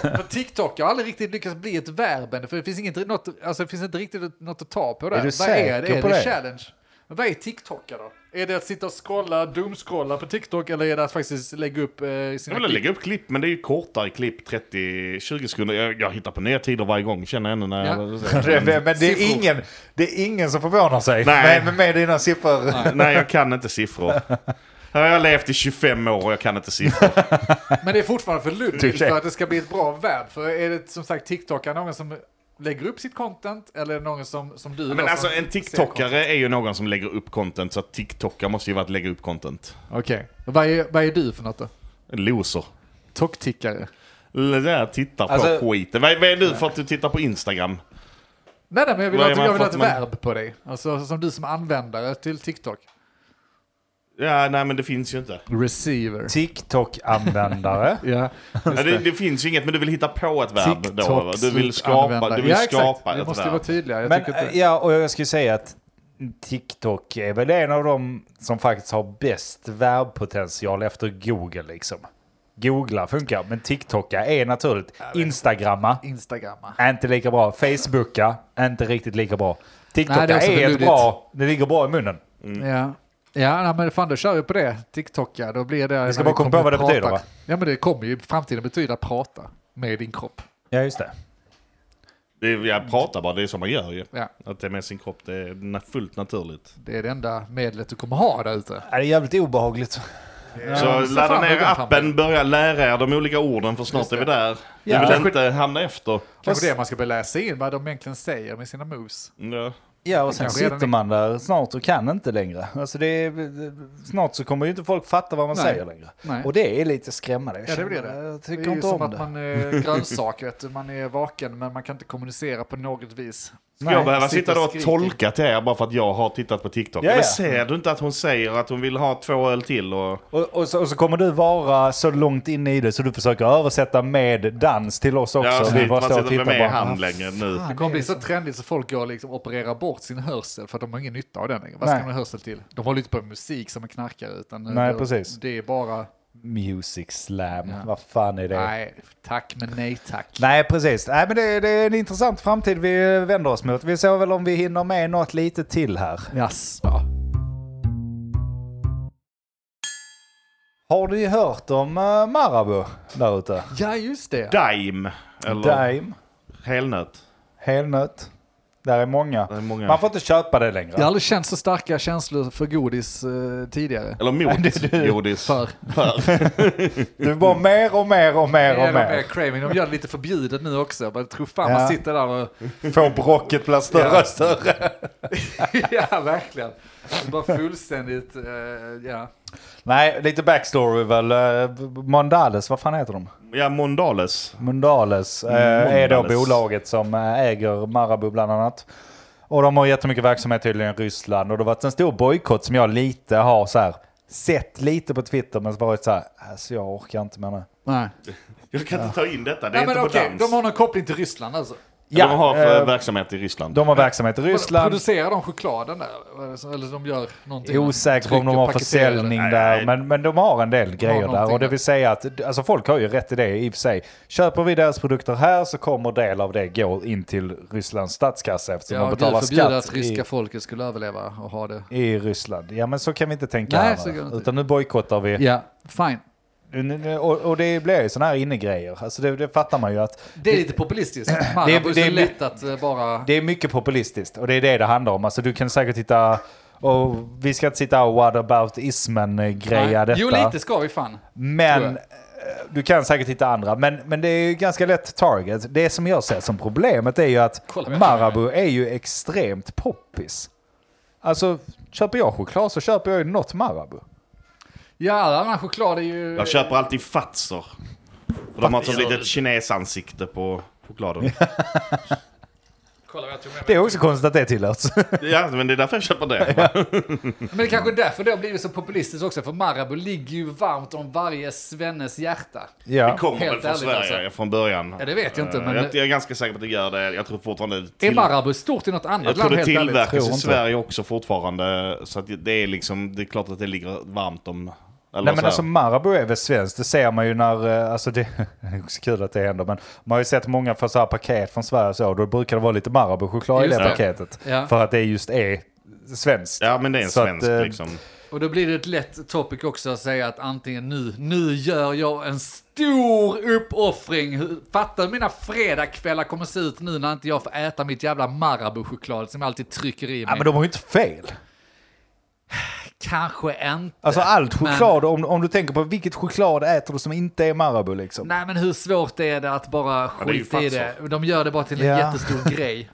[SPEAKER 2] För TikTok har aldrig riktigt lyckats bli ett verb än, för det finns, inget, något, alltså, det finns inte riktigt något att ta på där.
[SPEAKER 1] Är du
[SPEAKER 2] Vad är det?
[SPEAKER 1] säker
[SPEAKER 2] Är
[SPEAKER 1] på
[SPEAKER 2] det
[SPEAKER 1] det?
[SPEAKER 2] challenge? Men vad är TikTokare då? Är det att sitta och scrolla, doomscrolla på TikTok eller är det att faktiskt lägga upp eh,
[SPEAKER 4] Jag
[SPEAKER 2] sina
[SPEAKER 4] vill lägga upp klipp, men det är ju kortare klipp, 30-20 sekunder. Jag, jag hittar på nya tider varje gång, känner jag nu när jag...
[SPEAKER 1] Det- Men det är,
[SPEAKER 2] Siffror.
[SPEAKER 1] ingen, det är ingen som förvånar sig med,
[SPEAKER 4] Nej.
[SPEAKER 1] med, med dina siffror.
[SPEAKER 4] Nej, jag kan inte siffror. Här har jag levt i 25 år och jag kan inte siffror.
[SPEAKER 2] Men det är fortfarande för luddigt
[SPEAKER 1] Touché.
[SPEAKER 2] för att det ska bli ett bra verb. För är det som sagt TikTokare någon som lägger upp sitt content eller är det någon som, som du? då,
[SPEAKER 4] Men alltså
[SPEAKER 2] som ser
[SPEAKER 4] en
[SPEAKER 2] content?
[SPEAKER 4] TikTokare är ju någon som lägger upp content, så att TikTokare måste ju vara att lägga upp content.
[SPEAKER 2] Okej, vad, är, vad är du för något då?
[SPEAKER 4] En Loser.
[SPEAKER 2] Toktickare?
[SPEAKER 4] Det där tittar på
[SPEAKER 5] Alltså-
[SPEAKER 4] skiten. Vad, vad är du för att du tittar på Instagram?
[SPEAKER 2] Nej, nej, men jag vill
[SPEAKER 4] Vad
[SPEAKER 2] ha
[SPEAKER 4] är
[SPEAKER 2] ett,
[SPEAKER 4] man
[SPEAKER 2] jag vill ha ett
[SPEAKER 4] för att man-
[SPEAKER 2] verb på dig. Alltså som du som användare till TikTok.
[SPEAKER 4] Ja, nej men det finns ju inte.
[SPEAKER 2] Receiver.
[SPEAKER 1] TikTok-användare.
[SPEAKER 2] Ja,
[SPEAKER 4] Ja, det, det finns ju inget, men du vill hitta på ett verb då. va?
[SPEAKER 2] TikToks eh,
[SPEAKER 4] Du vill skapa,
[SPEAKER 2] användare.
[SPEAKER 4] du vill
[SPEAKER 2] ja,
[SPEAKER 4] skapa
[SPEAKER 2] exakt. Vi
[SPEAKER 4] ett
[SPEAKER 2] måste ju
[SPEAKER 4] verb.
[SPEAKER 2] vara tydliga. Jag
[SPEAKER 1] Men, eh,
[SPEAKER 2] tycker inte...
[SPEAKER 1] ja, och jag skulle säga att TikTok är väl en av de som faktiskt har bäst värbpotential efter Google. Liksom. Googla funkar, men TikToka är naturligt. Instagramma
[SPEAKER 2] Instagramma.
[SPEAKER 1] är inte lika bra. Facebooka är inte riktigt lika bra. TikToka
[SPEAKER 2] Nej, det är också
[SPEAKER 1] är,
[SPEAKER 2] för
[SPEAKER 1] ett
[SPEAKER 2] luddigt.
[SPEAKER 1] bra, det ligger bra i munnen.
[SPEAKER 2] Mm. Ja. Ja, nej, men fan då kör vi på det. TikTok, ja. Då blir det... Vi
[SPEAKER 1] ska bara komma på vad det betyder, va?
[SPEAKER 2] Ja, men det kommer ju i framtiden betyda prata med din kropp.
[SPEAKER 1] Ja, just det.
[SPEAKER 4] Det är, jag pratar bara, det är som man gör ju.
[SPEAKER 2] Ja,
[SPEAKER 4] Att det är med sin kropp, det är na- fullt naturligt.
[SPEAKER 2] det är det enda medlet du kommer ha där ute.
[SPEAKER 1] Ja, det är jävligt obehagligt.
[SPEAKER 4] Så
[SPEAKER 2] så
[SPEAKER 4] ladda
[SPEAKER 2] fram
[SPEAKER 4] ner
[SPEAKER 2] med den
[SPEAKER 4] appen,
[SPEAKER 2] kampen.
[SPEAKER 4] börja lära er de olika orden för snart är vi där. Ni
[SPEAKER 1] Ja.
[SPEAKER 4] vill
[SPEAKER 1] Kanske-
[SPEAKER 4] inte hamna efter.
[SPEAKER 2] Kanske det man ska börja läsa in vad de egentligen säger med sina moves.
[SPEAKER 4] Ja.
[SPEAKER 1] Ja, och sen
[SPEAKER 2] kanske redan
[SPEAKER 1] sitter
[SPEAKER 2] är-
[SPEAKER 1] man där snart och kan inte längre. Alltså det är, snart så kommer ju inte folk fatta vad man
[SPEAKER 2] Nej.
[SPEAKER 1] säger längre.
[SPEAKER 2] Nej.
[SPEAKER 1] Och det är lite skrämmande. Jag
[SPEAKER 2] Ja, det blir
[SPEAKER 1] känner-
[SPEAKER 2] det.
[SPEAKER 1] Jag
[SPEAKER 2] Det
[SPEAKER 1] tycker
[SPEAKER 2] är ju
[SPEAKER 1] inte
[SPEAKER 2] som
[SPEAKER 1] om
[SPEAKER 2] att
[SPEAKER 1] det.
[SPEAKER 2] man är grönsak, vet du. Man är vaken, men man kan inte kommunicera på något vis.
[SPEAKER 4] Ska jag behöva
[SPEAKER 2] sitter
[SPEAKER 4] sitta då
[SPEAKER 2] och
[SPEAKER 4] och
[SPEAKER 2] skriker.
[SPEAKER 4] tolka till er bara för att jag har tittat på TikTok?
[SPEAKER 1] Ja, ja.
[SPEAKER 4] Men ser du inte att hon säger att hon vill ha två öl till? Och...
[SPEAKER 1] Och, och, så, och så kommer du vara så långt inne i det så du försöker översätta med dans till oss också.
[SPEAKER 4] Ja, så
[SPEAKER 1] vi
[SPEAKER 4] vill
[SPEAKER 1] bara
[SPEAKER 4] man
[SPEAKER 1] står
[SPEAKER 4] sitter
[SPEAKER 1] och tittar
[SPEAKER 4] med i
[SPEAKER 1] bara. Ah,
[SPEAKER 4] hand längre nu.
[SPEAKER 2] Det kommer bli så trendigt så folk går och liksom opererar bort sin hörsel för att de har ingen nytta av den längre. Vad
[SPEAKER 1] Nej.
[SPEAKER 2] ska man ha hörsel till? De håller inte på med musik som en knarkare utan
[SPEAKER 1] Nej,
[SPEAKER 2] det,
[SPEAKER 1] precis.
[SPEAKER 2] det är bara
[SPEAKER 1] Music slam,
[SPEAKER 2] Ja.
[SPEAKER 1] vad fan är det? Nej,
[SPEAKER 2] nej tack men nej tack.
[SPEAKER 1] precis. Nej, men det, det är en intressant framtid vi vänder oss mot. Vi ser väl om vi hinner med något lite till här.
[SPEAKER 2] Jaså.
[SPEAKER 1] Har ni hört om uh, Marabou där ute?
[SPEAKER 2] Ja just det.
[SPEAKER 4] Dime, eller
[SPEAKER 1] Daim,
[SPEAKER 4] helnöt.
[SPEAKER 1] helnöt. Där är många.
[SPEAKER 4] Det är många.
[SPEAKER 1] Man får inte köpa det längre.
[SPEAKER 2] Jag har aldrig känt så starka känslor för godis eh, tidigare.
[SPEAKER 4] Eller mot godis.
[SPEAKER 2] För
[SPEAKER 1] Du bara mer och mer och mer och mer.
[SPEAKER 2] craving. De gör det lite förbjudet nu också. Jag bara tror fan
[SPEAKER 1] Ja.
[SPEAKER 2] man sitter där och...
[SPEAKER 1] Får bråcket blir större och större.
[SPEAKER 2] ja verkligen. Det är bara fullständigt... eh, ja.
[SPEAKER 1] Nej, lite backstory väl. Eh, Mondales, vad fan heter de?
[SPEAKER 4] Ja, Mondales.
[SPEAKER 1] Mondales, eh, är då
[SPEAKER 4] Mondales.
[SPEAKER 1] bolaget som eh, äger Marabou bland annat. Och de har jättemycket verksamhet tydligen i Ryssland. Och det har varit en stor bojkott som jag lite har så här, sett lite på Twitter men så varit så här, alltså jag orkar inte med det.
[SPEAKER 2] Nej.
[SPEAKER 4] Jag kan inte ta in detta, det
[SPEAKER 2] Nej
[SPEAKER 4] är
[SPEAKER 2] men
[SPEAKER 4] inte
[SPEAKER 2] okej,
[SPEAKER 4] på dans.
[SPEAKER 2] de har någon koppling till Ryssland alltså.
[SPEAKER 4] Ja, de har för
[SPEAKER 1] eh,
[SPEAKER 4] verksamhet i Ryssland.
[SPEAKER 1] de har verksamhet i Ryssland.
[SPEAKER 2] Producerar de chokladen där? Vad är det som- Eller de gör någonting?
[SPEAKER 1] Osäker på om de
[SPEAKER 2] Trycker,
[SPEAKER 1] har
[SPEAKER 2] paketerar det.
[SPEAKER 1] försäljning
[SPEAKER 4] Nej,
[SPEAKER 1] där,
[SPEAKER 4] nej.
[SPEAKER 1] men, men de har en del grejer där.
[SPEAKER 2] någonting
[SPEAKER 1] Och det
[SPEAKER 2] där.
[SPEAKER 1] vill säga att alltså folk har ju rätt i det i och för sig. Köper vi deras produkter här så kommer del av det gå in till Rysslands statskassa eftersom
[SPEAKER 2] Ja,
[SPEAKER 1] de
[SPEAKER 2] Gud
[SPEAKER 1] betalar
[SPEAKER 2] förbjuda att
[SPEAKER 1] skatt
[SPEAKER 2] ryska
[SPEAKER 1] i,
[SPEAKER 2] folket skulle överleva och ha det.
[SPEAKER 1] i Ryssland. Ja, men så kan vi inte tänka
[SPEAKER 2] Nej,
[SPEAKER 1] här,
[SPEAKER 2] så kan vi inte.
[SPEAKER 1] Utan nu bojkottar vi.
[SPEAKER 2] Ja, fine.
[SPEAKER 1] Nu- nu- Och, och det blir ju sådana här innegrejer. Alltså det, det fattar man ju att
[SPEAKER 2] Det är lite populistiskt. Man,
[SPEAKER 1] Det-
[SPEAKER 2] det, är
[SPEAKER 1] det-
[SPEAKER 2] så lätt att eh, bara...
[SPEAKER 1] det är mycket populistiskt. Och det är det det handlar om. Alltså du kan säkert hitta... Och vi ska inte sitta och what about ismen-greja
[SPEAKER 2] Nej.
[SPEAKER 1] detta.
[SPEAKER 2] Jo, lite ska vi fan. Tror
[SPEAKER 1] Men
[SPEAKER 2] jag.
[SPEAKER 1] eh, du kan säkert hitta andra, men, men det är ju ganska lätt target. Det som jag ser som problemet är ju att
[SPEAKER 2] Kolla vad jag
[SPEAKER 1] Marabou är ju extremt poppis. Alltså, köper jag choklad så köper jag ju något Marabou.
[SPEAKER 2] Ja, all annan choklad är ju...
[SPEAKER 4] Jag köper alltid Fatser. alltså För de har ett sånt litet kinesansikte på chokladen.
[SPEAKER 5] Kolla vad jag
[SPEAKER 1] Det är också konstigt att det tillåts.
[SPEAKER 4] Ja, men det är därför jag köper det.
[SPEAKER 2] Men det är kanske är därför det har blivit så populistiskt också, för Marabou ligger ju varmt om varje svennes hjärta.
[SPEAKER 4] Det
[SPEAKER 1] ja.
[SPEAKER 4] kommer
[SPEAKER 2] Helt
[SPEAKER 4] väl från
[SPEAKER 2] ärligt
[SPEAKER 4] Sverige
[SPEAKER 2] alltså.
[SPEAKER 4] från början.
[SPEAKER 2] Ja, det vet jag inte,
[SPEAKER 4] Eh,
[SPEAKER 2] men-
[SPEAKER 4] Jag, jag är ganska säker på att det gör det. Jag tror fortfarande... det
[SPEAKER 2] Är
[SPEAKER 4] till-
[SPEAKER 2] Marabou stort i något annat
[SPEAKER 4] Jag tror
[SPEAKER 2] land
[SPEAKER 4] det
[SPEAKER 2] helt ärligt?
[SPEAKER 1] Tror
[SPEAKER 4] tillverkas i
[SPEAKER 1] inte.
[SPEAKER 4] Sverige också fortfarande. Så att det är liksom, det är klart att det ligger varmt om... Eller
[SPEAKER 1] Nej
[SPEAKER 4] så
[SPEAKER 1] men
[SPEAKER 4] här.
[SPEAKER 1] alltså Marabou är väl svenskt, det ser man ju när, eh, alltså det det är också kul att det händer, men man har ju sett många få så här paket från Sverige och så, då brukar det vara lite Marabou-choklad i
[SPEAKER 2] Just
[SPEAKER 1] det
[SPEAKER 2] det.
[SPEAKER 1] paketet.
[SPEAKER 2] Ja.
[SPEAKER 1] För att det just är svenskt.
[SPEAKER 4] Ja men det är en
[SPEAKER 1] Så att,
[SPEAKER 4] svensk
[SPEAKER 1] eh,
[SPEAKER 4] liksom.
[SPEAKER 2] Och då blir det ett lätt topic också att säga att antingen nu, nu gör jag en stor uppoffring. Hur- Fattar hur mina fredagskvällar kommer se ut nu när inte jag får äta mitt jävla Marabou-choklad som jag alltid trycker i mig.
[SPEAKER 1] Ja men de har ju inte fel.
[SPEAKER 2] Kanske inte.
[SPEAKER 1] Alltså allt
[SPEAKER 2] men-
[SPEAKER 1] choklad, om, om du tänker på vilket choklad äter du som inte är Marabou liksom.
[SPEAKER 2] Nej men hur svårt är det att bara
[SPEAKER 4] det är ju
[SPEAKER 2] skita i
[SPEAKER 4] faktiskt
[SPEAKER 2] det? De gör det bara till en
[SPEAKER 1] Ja.
[SPEAKER 2] jättestor grej.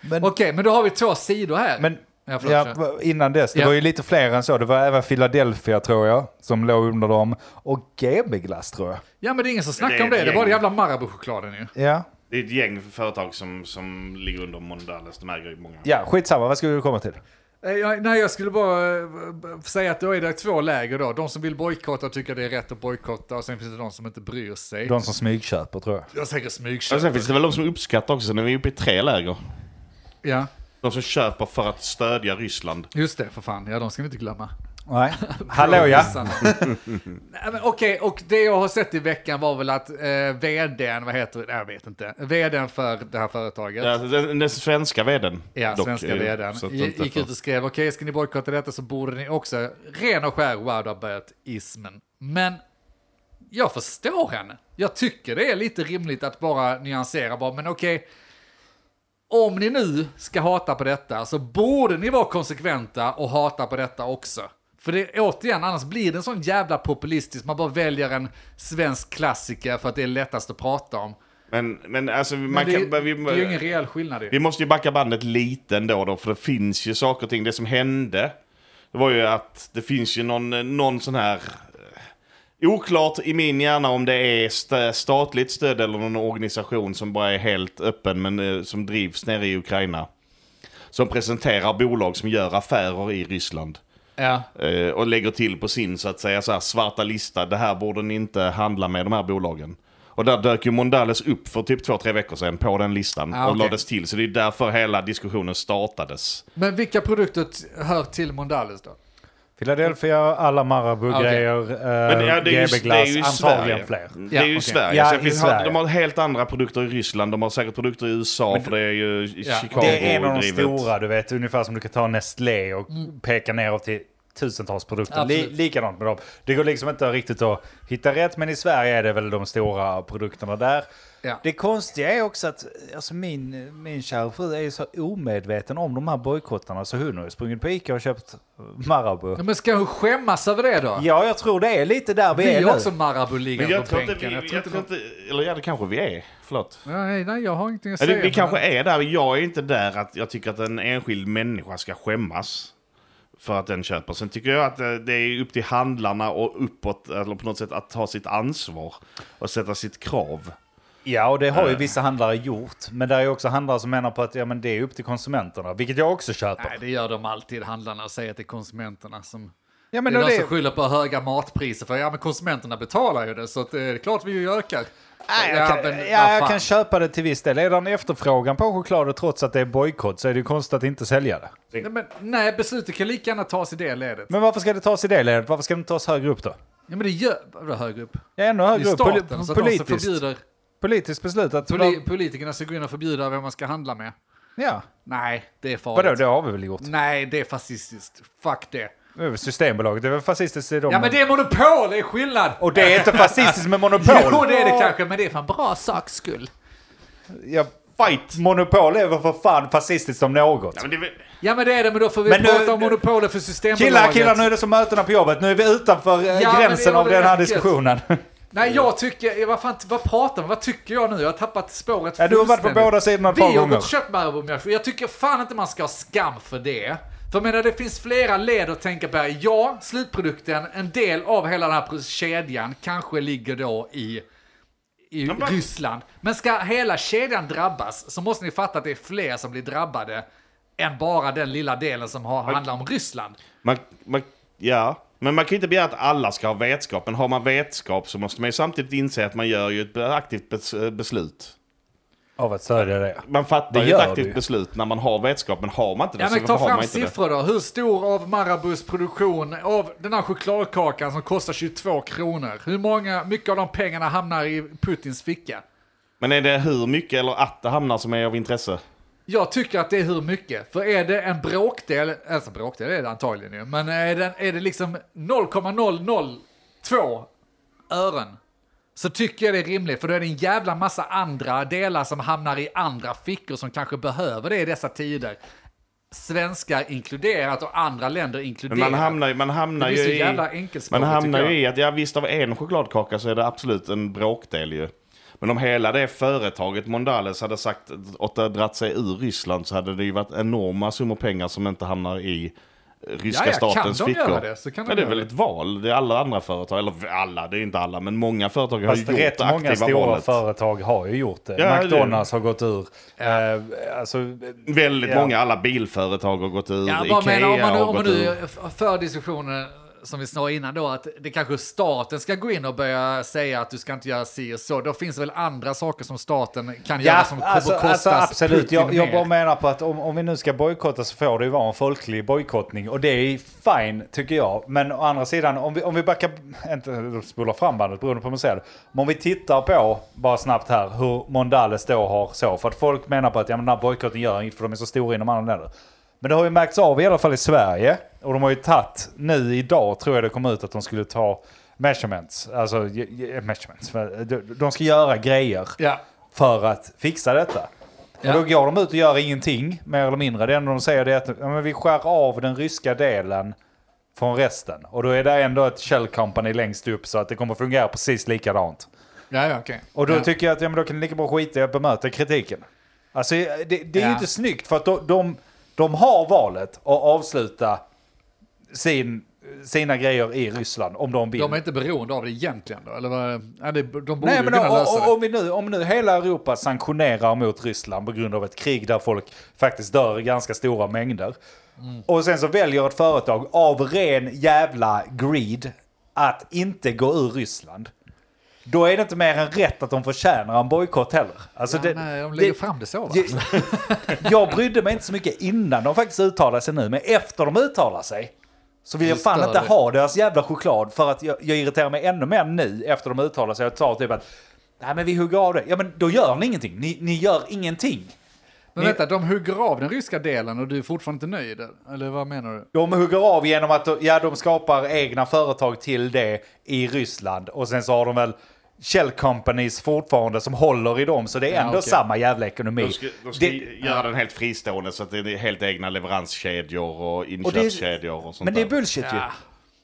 [SPEAKER 1] Men,
[SPEAKER 2] Okej, men då har vi två sidor här.
[SPEAKER 1] men
[SPEAKER 2] ja, förlåt,
[SPEAKER 1] ja,
[SPEAKER 2] kör.
[SPEAKER 1] innan dess, det
[SPEAKER 2] Ja.
[SPEAKER 1] var ju lite fler än så. Det var även Philadelphia tror jag, som låg under dem. Och GB-glass tror jag.
[SPEAKER 2] ja men det är ingen som
[SPEAKER 4] Det
[SPEAKER 2] snackar
[SPEAKER 4] är
[SPEAKER 2] om det.
[SPEAKER 4] ett
[SPEAKER 2] Det är bara
[SPEAKER 4] gäng.
[SPEAKER 2] jävla Marabou-chokladen ju.
[SPEAKER 1] Ja.
[SPEAKER 4] Det är ett gäng företag som, som ligger under Mondelez. De äger ju många.
[SPEAKER 1] Ja, skitsamma. Vad skulle du komma till?
[SPEAKER 2] Eh, Jag, nej, jag skulle bara eh, b- säga att då är det två läger då. De som vill bojkotta och tycker det är rätt att bojkotta och sen finns det de som inte bryr sig.
[SPEAKER 1] De som smygköper tror jag.
[SPEAKER 2] Jag säger
[SPEAKER 4] Och
[SPEAKER 2] smygköp.
[SPEAKER 4] sen finns det väl de som uppskattar också. Så nu är vi uppe i tre läger.
[SPEAKER 2] Ja,
[SPEAKER 4] De som köper för att stödja Ryssland.
[SPEAKER 2] just det för fan. Ja, de ska vi inte glömma.
[SPEAKER 1] Nej. Hallå ja.
[SPEAKER 2] Ryssarna. Nej, men Okej, och det jag har sett i veckan var väl att eh, vdn, vad heter det? Jag vet inte. Vdn för det här företaget.
[SPEAKER 4] Ja, alltså, den, den svenska veden.
[SPEAKER 2] Ja,
[SPEAKER 4] dock,
[SPEAKER 2] svenska
[SPEAKER 4] eh,
[SPEAKER 2] vdn
[SPEAKER 4] så att
[SPEAKER 2] gi-
[SPEAKER 4] inte
[SPEAKER 2] gick
[SPEAKER 4] för-
[SPEAKER 2] ut och skrev okej, ska ni bojkotta detta så borde ni också ren och skär wowdaböt-ismen. Men jag förstår henne. Jag tycker det är lite rimligt att bara nyansera bara, men okej, om ni nu ska hata på detta så borde ni vara konsekventa och hata på detta också. För det, återigen, annars blir det en sån jävla populistisk, man bara väljer en svensk klassiker för att det är lättast att prata om.
[SPEAKER 4] Men, men alltså, man
[SPEAKER 2] Men det,
[SPEAKER 4] kan,
[SPEAKER 2] är-
[SPEAKER 4] vi,
[SPEAKER 2] det är ju ingen reell skillnad ju.
[SPEAKER 4] vi måste ju backa bandet lite ändå då, för det finns ju saker och ting. Det som hände, det var ju att det finns ju någon, någon sån här... eh, Oklart i min hjärna om det är st- statligt stöd eller någon organisation som bara är helt öppen men eh, som drivs nere i Ukraina. Som presenterar bolag som gör affärer i Ryssland.
[SPEAKER 2] Ja.
[SPEAKER 4] Eh, och lägger till på sin så att säga så här, svarta lista, det här borde ni inte handla med de här bolagen. Och där dök ju Mondelez upp för typ två, tre veckor sedan på den listan
[SPEAKER 2] Ah,
[SPEAKER 4] och
[SPEAKER 2] okej.
[SPEAKER 4] lades till. Så det är därför hela diskussionen startades.
[SPEAKER 2] Men vilka produkter t- hör till Mondalis då?
[SPEAKER 1] Philadelphia, alla Marabou-grejer, okay.
[SPEAKER 4] Men ja, det är ju- det är ju i
[SPEAKER 1] GB-glass, Eh, antagligen
[SPEAKER 4] Sverige.
[SPEAKER 1] fler.
[SPEAKER 4] Mm, det är ju
[SPEAKER 2] okej.
[SPEAKER 4] Sverige.
[SPEAKER 1] Ja,
[SPEAKER 4] Sen
[SPEAKER 1] i
[SPEAKER 4] finns-
[SPEAKER 1] Sverige.
[SPEAKER 4] De har helt andra produkter i Ryssland, de har säkert produkter i USA för det är ju i
[SPEAKER 2] Ja.
[SPEAKER 4] Chicago
[SPEAKER 1] Det är en av de
[SPEAKER 4] drivet.
[SPEAKER 1] stora, du vet, ungefär som du kan ta Nestlé och peka neråt till tusentals produkter. Li-
[SPEAKER 2] Mm. Absolut.
[SPEAKER 1] likadant med dem. Det går liksom inte riktigt att hitta rätt, men i Sverige är det väl de stora produkterna där.
[SPEAKER 2] Ja.
[SPEAKER 1] Det konstiga är också att alltså min, min kära fru är ju så omedveten om de här bojkottarna så hon har ju sprungit på Ica och köpt Marabou.
[SPEAKER 2] Ja, men ska hon skämmas över det då?
[SPEAKER 1] Ja, jag tror det är lite där vi,
[SPEAKER 2] vi
[SPEAKER 1] är
[SPEAKER 2] är
[SPEAKER 1] nu.
[SPEAKER 2] också Marabou-ligan
[SPEAKER 4] Men
[SPEAKER 2] på
[SPEAKER 4] jag tror inte
[SPEAKER 2] bänken.
[SPEAKER 4] vi, jag tror
[SPEAKER 2] de-
[SPEAKER 4] inte, eller ja det kanske vi är, förlåt.
[SPEAKER 2] Nej, nej, jag har ingenting att
[SPEAKER 4] Eller,
[SPEAKER 2] säga.
[SPEAKER 4] vi
[SPEAKER 2] om
[SPEAKER 4] kanske
[SPEAKER 2] det.
[SPEAKER 4] är där, jag är inte där att jag tycker att en enskild människa ska skämmas för att den köper. Sen tycker jag att eh, det är upp till handlarna och uppåt, eller på något sätt att ta sitt ansvar och sätta sitt krav.
[SPEAKER 1] Ja, och det har ju vissa handlare gjort. Men det är ju också handlare som menar på att ja, men det är upp till konsumenterna, vilket jag också köper.
[SPEAKER 2] Nej, det gör de alltid, handlarna, och säger till konsumenterna som...
[SPEAKER 1] ja, men
[SPEAKER 2] Men det är
[SPEAKER 1] och
[SPEAKER 2] de
[SPEAKER 1] det-
[SPEAKER 2] som skyller på höga matpriser, för ja, men konsumenterna betalar ju det, så att, eh, det är klart vi ökar.
[SPEAKER 1] Nej, jag kan,
[SPEAKER 2] men, vad
[SPEAKER 1] Ah, ja, jag
[SPEAKER 2] fan.
[SPEAKER 1] kan köpa det till viss del. Är det en efterfrågan på choklad och trots att det är bojkott så är det ju konstigt att inte sälja det.
[SPEAKER 2] nej, men, nej, beslutet kan lika gärna tas i det ledet.
[SPEAKER 1] Men varför ska det tas i det ledet? Varför ska det inte tas högre upp då?
[SPEAKER 2] Ja, men det gör... Vadå högre upp?
[SPEAKER 1] Ja, ännu
[SPEAKER 2] I
[SPEAKER 1] högre upp.
[SPEAKER 2] staten,
[SPEAKER 1] Poli-
[SPEAKER 2] så att de som
[SPEAKER 1] politiskt,
[SPEAKER 2] förbjuder...
[SPEAKER 1] politiskt beslut. Att,
[SPEAKER 2] Poli, politikerna ska gå in och förbjuda vem man ska handla med.
[SPEAKER 1] ja.
[SPEAKER 2] Nej, det är farligt.
[SPEAKER 1] Vadå, det har vi väl gjort?
[SPEAKER 2] Nej, det är fascistiskt. Fuck det.
[SPEAKER 1] Det är väl Systembolaget, det är väl fascistiskt i dem.
[SPEAKER 2] Ja men det är monopol, det är skillnad!
[SPEAKER 1] Och det är inte fascistiskt med monopol.
[SPEAKER 2] Jo det är det kanske, men det är för en bra saks skull.
[SPEAKER 1] Ja, fight! Monopol är väl för fan fascistiskt som något.
[SPEAKER 4] Ja, men det är väl-
[SPEAKER 2] Ja men det är det, men då får vi
[SPEAKER 1] Men nu-
[SPEAKER 2] prata om monopolet för Systembolaget.
[SPEAKER 1] Killar, killar, nu är det som mötena på jobbet. Nu är vi utanför eh,
[SPEAKER 2] Ja, men
[SPEAKER 1] gränsen
[SPEAKER 2] det är
[SPEAKER 1] av
[SPEAKER 2] väl
[SPEAKER 1] den här
[SPEAKER 2] enkelt.
[SPEAKER 1] diskussionen. Eh.
[SPEAKER 2] Nej jag tycker, eh, vad fan, vad pratar man, vad tycker jag nu? Jag har tappat spåret
[SPEAKER 1] Ja, du har varit på
[SPEAKER 2] fullständigt.
[SPEAKER 1] båda sidorna ett
[SPEAKER 2] Vi
[SPEAKER 1] par
[SPEAKER 2] har
[SPEAKER 1] gånger.
[SPEAKER 2] gått och köpt Marabou mjölk, och jag tycker fan inte man ska ha skam för det. För jag menar, det finns flera led att tänka på. här. Ja, slutprodukten, en del av hela den här pro- kedjan, kanske ligger då i i
[SPEAKER 4] men-
[SPEAKER 2] Ryssland. Men ska hela kedjan drabbas så måste ni fatta att det är fler som blir drabbade än bara den lilla delen som har, handlar om Ryssland.
[SPEAKER 4] Man, man, ja, men man kan ju inte begära att alla ska ha vetskap. Men har man vetskap så måste man ju samtidigt inse att man gör ju ett aktivt bes- eh, beslut.
[SPEAKER 1] Av att stödja det.
[SPEAKER 4] Man
[SPEAKER 1] Det
[SPEAKER 4] fattar ju
[SPEAKER 1] gör
[SPEAKER 4] ett
[SPEAKER 1] du.
[SPEAKER 4] aktivt beslut när man har vetskap, men har man inte det
[SPEAKER 2] Ja,
[SPEAKER 4] så
[SPEAKER 2] men
[SPEAKER 4] varför
[SPEAKER 2] ta
[SPEAKER 4] har
[SPEAKER 2] fram
[SPEAKER 4] man inte det?
[SPEAKER 2] siffror då. Hur stor av Marabous produktion av den här chokladkakan som kostar 22 kronor? Hur många, mycket av de pengarna hamnar i Putins ficka?
[SPEAKER 4] Men är det hur mycket eller att det hamnar som är av intresse?
[SPEAKER 2] Jag tycker att det är hur mycket. För är det en bråkdel, alltså bråkdel är det antagligen ju, men är det, är det liksom 0,002 ören så tycker jag det är rimligt, för då är det en jävla massa andra delar som hamnar i andra fickor som kanske behöver det i dessa tider. Svenskar inkluderat och andra länder
[SPEAKER 4] Men
[SPEAKER 2] inkluderat.
[SPEAKER 4] man hamnar, ju- man hamnar
[SPEAKER 2] Det blir
[SPEAKER 4] ju
[SPEAKER 2] så
[SPEAKER 4] i...
[SPEAKER 2] jävla enkelspårigt,
[SPEAKER 4] Man hamnar
[SPEAKER 2] tycker
[SPEAKER 4] ju
[SPEAKER 2] jag.
[SPEAKER 4] i att, ja visst av en chokladkaka så är det absolut en bråkdel ju. Men om hela det företaget Mondales hade sagt att det hade dratt sig ur Ryssland så hade det ju varit enorma summor pengar som inte hamnar i ryska
[SPEAKER 2] Ja, ja, kan
[SPEAKER 4] statens
[SPEAKER 2] de
[SPEAKER 4] fickor.
[SPEAKER 2] göra det så kan de
[SPEAKER 4] Men det är
[SPEAKER 2] göra
[SPEAKER 4] väl
[SPEAKER 2] det.
[SPEAKER 4] ett val. Det är alla andra företag, eller alla, det är inte alla, men många företag har ju
[SPEAKER 1] Fast
[SPEAKER 4] gjort det
[SPEAKER 1] rätt många
[SPEAKER 4] aktiva
[SPEAKER 1] stora
[SPEAKER 4] valet.
[SPEAKER 1] företag har ju gjort det.
[SPEAKER 4] Ja, det-
[SPEAKER 1] McDonalds har gått ur. Eh, alltså,
[SPEAKER 4] Väldigt
[SPEAKER 1] Ja.
[SPEAKER 4] många, alla bilföretag har gått ur,
[SPEAKER 2] Ja,
[SPEAKER 4] Ikea
[SPEAKER 2] vad menar om man nu,
[SPEAKER 4] har
[SPEAKER 2] om man
[SPEAKER 4] gått
[SPEAKER 2] nu
[SPEAKER 4] ur.
[SPEAKER 2] för diskussionen som vi snarade innan då, att det kanske staten ska gå in och börja säga att du ska inte göra si och så. Då finns det väl andra saker som staten kan göra som kommer
[SPEAKER 1] alltså,
[SPEAKER 2] kosta
[SPEAKER 1] alltså, absolut.
[SPEAKER 2] Putin
[SPEAKER 1] Jag, jag
[SPEAKER 2] mer.
[SPEAKER 1] bara menar på att om, om vi nu ska bojkotta så får det ju vara en folklig bojkottning. Och det är fine, tycker jag. Men å andra sidan, om vi, om vi backar, inte spolar fram bandet beroende på hur man ser det. Men om vi tittar på, bara snabbt här, hur Mondales då har så. För att folk menar på att ja, men den här bojkotten gör inget för de är så stora inom andra länder. Men det har ju märkts av i alla fall i Sverige. Och de har ju tagit, nu idag tror jag det kom ut att de skulle ta measurements. Alltså, ge- ge- measurements. De- De ska göra grejer
[SPEAKER 2] Ja.
[SPEAKER 1] för att fixa detta.
[SPEAKER 2] Ja.
[SPEAKER 1] Och då går de ut och gör ingenting, mer eller mindre. Det enda de säger det är att ja, men vi skär av den ryska delen från resten. Och då är det ändå ett shell company längst upp så att det kommer fungera precis likadant.
[SPEAKER 2] Ja, ja, okej.
[SPEAKER 1] Och då
[SPEAKER 2] ja.
[SPEAKER 1] tycker jag att ja, men då kan ni lika bra skita i att bemöta kritiken. Alltså det, det är
[SPEAKER 2] Ja.
[SPEAKER 1] ju inte snyggt för att de, de, de har valet att avsluta sin, sina grejer i Ryssland om de vill.
[SPEAKER 2] De är inte beroende av det egentligen då? Eller vad, ja, det, de borde
[SPEAKER 1] Nej,
[SPEAKER 2] ju
[SPEAKER 1] men
[SPEAKER 2] kunna
[SPEAKER 1] o-
[SPEAKER 2] lösa
[SPEAKER 1] o- om, vi nu, om nu hela Europa sanktionerar mot Ryssland på grund av ett krig där folk faktiskt dör i ganska stora mängder.
[SPEAKER 2] Mm.
[SPEAKER 1] Och sen så väljer ett företag av ren jävla greed att inte gå ur Ryssland. Då är det inte mer än rätt att de förtjänar en bojkott heller. Alltså
[SPEAKER 2] det.
[SPEAKER 1] det-
[SPEAKER 2] ja, nej, de lägger
[SPEAKER 1] det-
[SPEAKER 2] fram det så va?
[SPEAKER 1] jag, jag brydde mig inte så mycket innan de faktiskt uttalade sig nu, men efter de uttalar sig så vill jag
[SPEAKER 2] Just
[SPEAKER 1] fan
[SPEAKER 2] det,
[SPEAKER 1] inte
[SPEAKER 2] det.
[SPEAKER 1] ha deras jävla choklad för att jag, jag irriterar mig ännu mer nu efter de uttalar sig och sa typ att nej men vi hugger av det. Ja men då gör ni ingenting, ni, ni gör ingenting.
[SPEAKER 2] Men
[SPEAKER 1] ni-
[SPEAKER 2] vänta, de hugger av den ryska delen och du är fortfarande inte nöjd? Eller vad menar du?
[SPEAKER 1] De hugger av genom att ja, de skapar egna företag till det i Ryssland och sen så har de väl Shell companies fortfarande som håller i dem så det är
[SPEAKER 2] Ja,
[SPEAKER 1] ändå
[SPEAKER 2] okej.
[SPEAKER 1] samma jävla ekonomi.
[SPEAKER 4] De ska, de ska
[SPEAKER 1] Det-
[SPEAKER 4] göra den helt fristående så att det är helt egna leveranskedjor och inköpskedjor och, sånt
[SPEAKER 1] men det är
[SPEAKER 4] där.
[SPEAKER 1] bullshit ju.
[SPEAKER 4] Ja,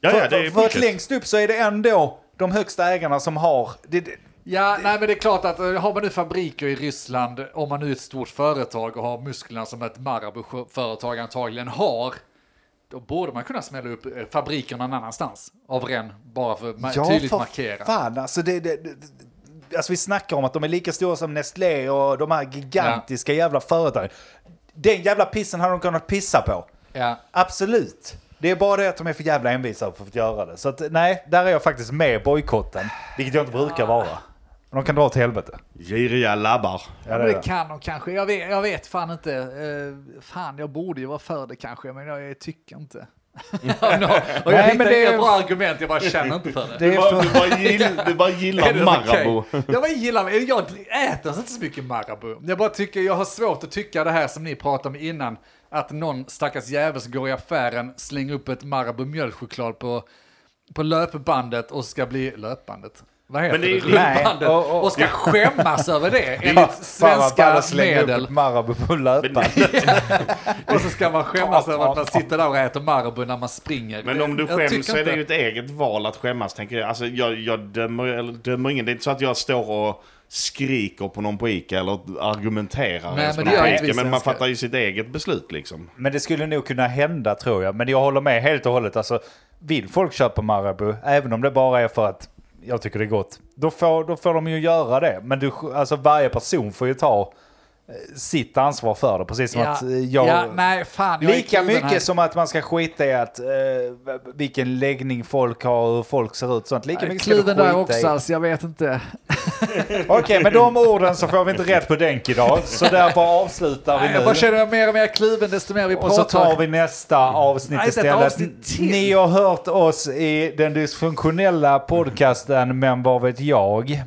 [SPEAKER 4] ja,
[SPEAKER 1] för,
[SPEAKER 4] det är
[SPEAKER 1] för att
[SPEAKER 4] bullshit.
[SPEAKER 1] längst upp så är det ändå de högsta ägarna som har... Det, det,
[SPEAKER 2] Ja, nej men det är klart att eh, har man nu fabriker i Ryssland, om man nu är ett stort företag och har musklerna som ett Marabou-företag antagligen har, då borde man kunna smälla upp eh, fabrikerna någon annanstans. Av ren, bara för att ma- tydligt markera.
[SPEAKER 1] fan alltså. Det, det, det, det- alltså vi snackar om att de är lika stora som Nestlé och de här gigantiska jävla företagen. Den jävla pissen hade de kunnat pissa på.
[SPEAKER 2] Ja.
[SPEAKER 1] Absolut. Det är bara det att de är för jävla envisa för att göra det. Så att, nej, där är jag faktiskt med bojkotten. Vilket jag inte brukar vara. Men de kan dra åt helvete.
[SPEAKER 4] Giriga labbar.
[SPEAKER 1] Ja,
[SPEAKER 2] men
[SPEAKER 1] är
[SPEAKER 2] det kan de kanske. Jag vet, jag vet fan inte. Eh, fan, jag borde ju vara för det kanske, men jag, tycker inte. no. Och
[SPEAKER 1] Nej,
[SPEAKER 2] jag hittar
[SPEAKER 1] men det är-
[SPEAKER 2] inga bra argument, jag bara känner inte för det.
[SPEAKER 1] Det
[SPEAKER 4] Du
[SPEAKER 1] är för...
[SPEAKER 4] bara, du bara, gill, du bara
[SPEAKER 2] Är
[SPEAKER 4] gillar
[SPEAKER 2] det alltså
[SPEAKER 4] Marabou.
[SPEAKER 2] okej? Jag bara gillar, jag äter alltså inte så mycket Marabou. Jag bara tycker, jag har svårt att tycka det här som ni pratade om innan, att någon stackars jävel går i affären, slänger upp ett Marabou mjölkchoklad på, på löpbandet och ska bli löpbandet. Vad heter
[SPEAKER 4] Men det är
[SPEAKER 2] det?
[SPEAKER 4] ju-
[SPEAKER 2] Rullbandet.
[SPEAKER 1] Nej, och- och-
[SPEAKER 2] och ska skämmas över det
[SPEAKER 1] Fan,
[SPEAKER 2] enligt
[SPEAKER 1] vad ball
[SPEAKER 2] svenska
[SPEAKER 1] att slänga upp
[SPEAKER 2] medel.
[SPEAKER 1] ett Marabou på löpbandet.
[SPEAKER 2] Och så ska man skämmas över att man sitter där och äter Marabou när man springer.
[SPEAKER 4] Men om du
[SPEAKER 2] Jag tycker
[SPEAKER 4] skäms så är det
[SPEAKER 2] inte-
[SPEAKER 4] ju ett eget val att skämmas, tänker jag. Alltså, jag, jag dömer, eller dömer ingen. Det är inte så att jag står och skriker på någon på Ica eller argumenterar
[SPEAKER 2] Nej,
[SPEAKER 4] ens
[SPEAKER 2] men
[SPEAKER 4] på
[SPEAKER 2] det
[SPEAKER 4] någon
[SPEAKER 2] gör
[SPEAKER 4] på
[SPEAKER 2] inte vi
[SPEAKER 4] Ica. Men man
[SPEAKER 2] svenskar.
[SPEAKER 4] fattar ju sitt eget beslut liksom.
[SPEAKER 1] Men det skulle nog kunna hända tror jag. Men jag håller med helt och hållet. Alltså, vill folk köpa Marabou, även om det bara är för att jag tycker det är gott. Då får, då får de ju göra det. Men du, alltså varje person får ju ta eh, sitt ansvar för det. Precis som
[SPEAKER 2] Ja,
[SPEAKER 1] att eh, jag...
[SPEAKER 2] ja, nej, fan, jag är
[SPEAKER 1] lika
[SPEAKER 2] kluven här.
[SPEAKER 1] mycket som att man ska skita i att eh, vilken läggning folk har och hur folk ser ut. Sånt. Lika mycket ska du
[SPEAKER 2] Kluven
[SPEAKER 1] skita
[SPEAKER 2] där
[SPEAKER 1] i.
[SPEAKER 2] också, alltså, jag vet inte.
[SPEAKER 1] Okej, med de orden så får vi inte rätt på Denk idag. Så därför avslutar vi
[SPEAKER 2] Nej,
[SPEAKER 1] nu.
[SPEAKER 2] jag bara känner mig mer och mer kluven desto mer vi
[SPEAKER 1] Och så tar
[SPEAKER 2] pratar. Mm.
[SPEAKER 1] vi nästa avsnitt
[SPEAKER 2] Nej, inte ett
[SPEAKER 1] istället.
[SPEAKER 2] avsnitt till.
[SPEAKER 1] Ni har hört oss i den dysfunktionella
[SPEAKER 2] Mm.
[SPEAKER 1] podcasten Men vad vet jag?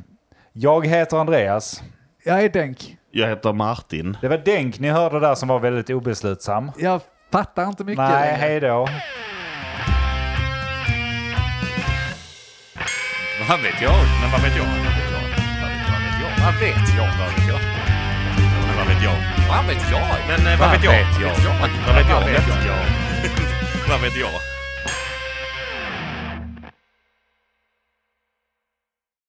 [SPEAKER 1] Jag heter Andreas.
[SPEAKER 2] Jag är denk.
[SPEAKER 4] Jag heter Martin.
[SPEAKER 1] Det var Denk ni hörde där som var väldigt obeslutsam.
[SPEAKER 2] Jag fattar inte mycket
[SPEAKER 1] Nej,
[SPEAKER 2] längre.
[SPEAKER 1] hej då.
[SPEAKER 3] Vad vet jag? Men vad vet jag? Vad vet jag? Vad vet jag? Vad vet jag? Men vad vet jag? Vad vet jag? Men eh, vad vet jag? Vad vet jag? Vad vet jag? Vad vet jag?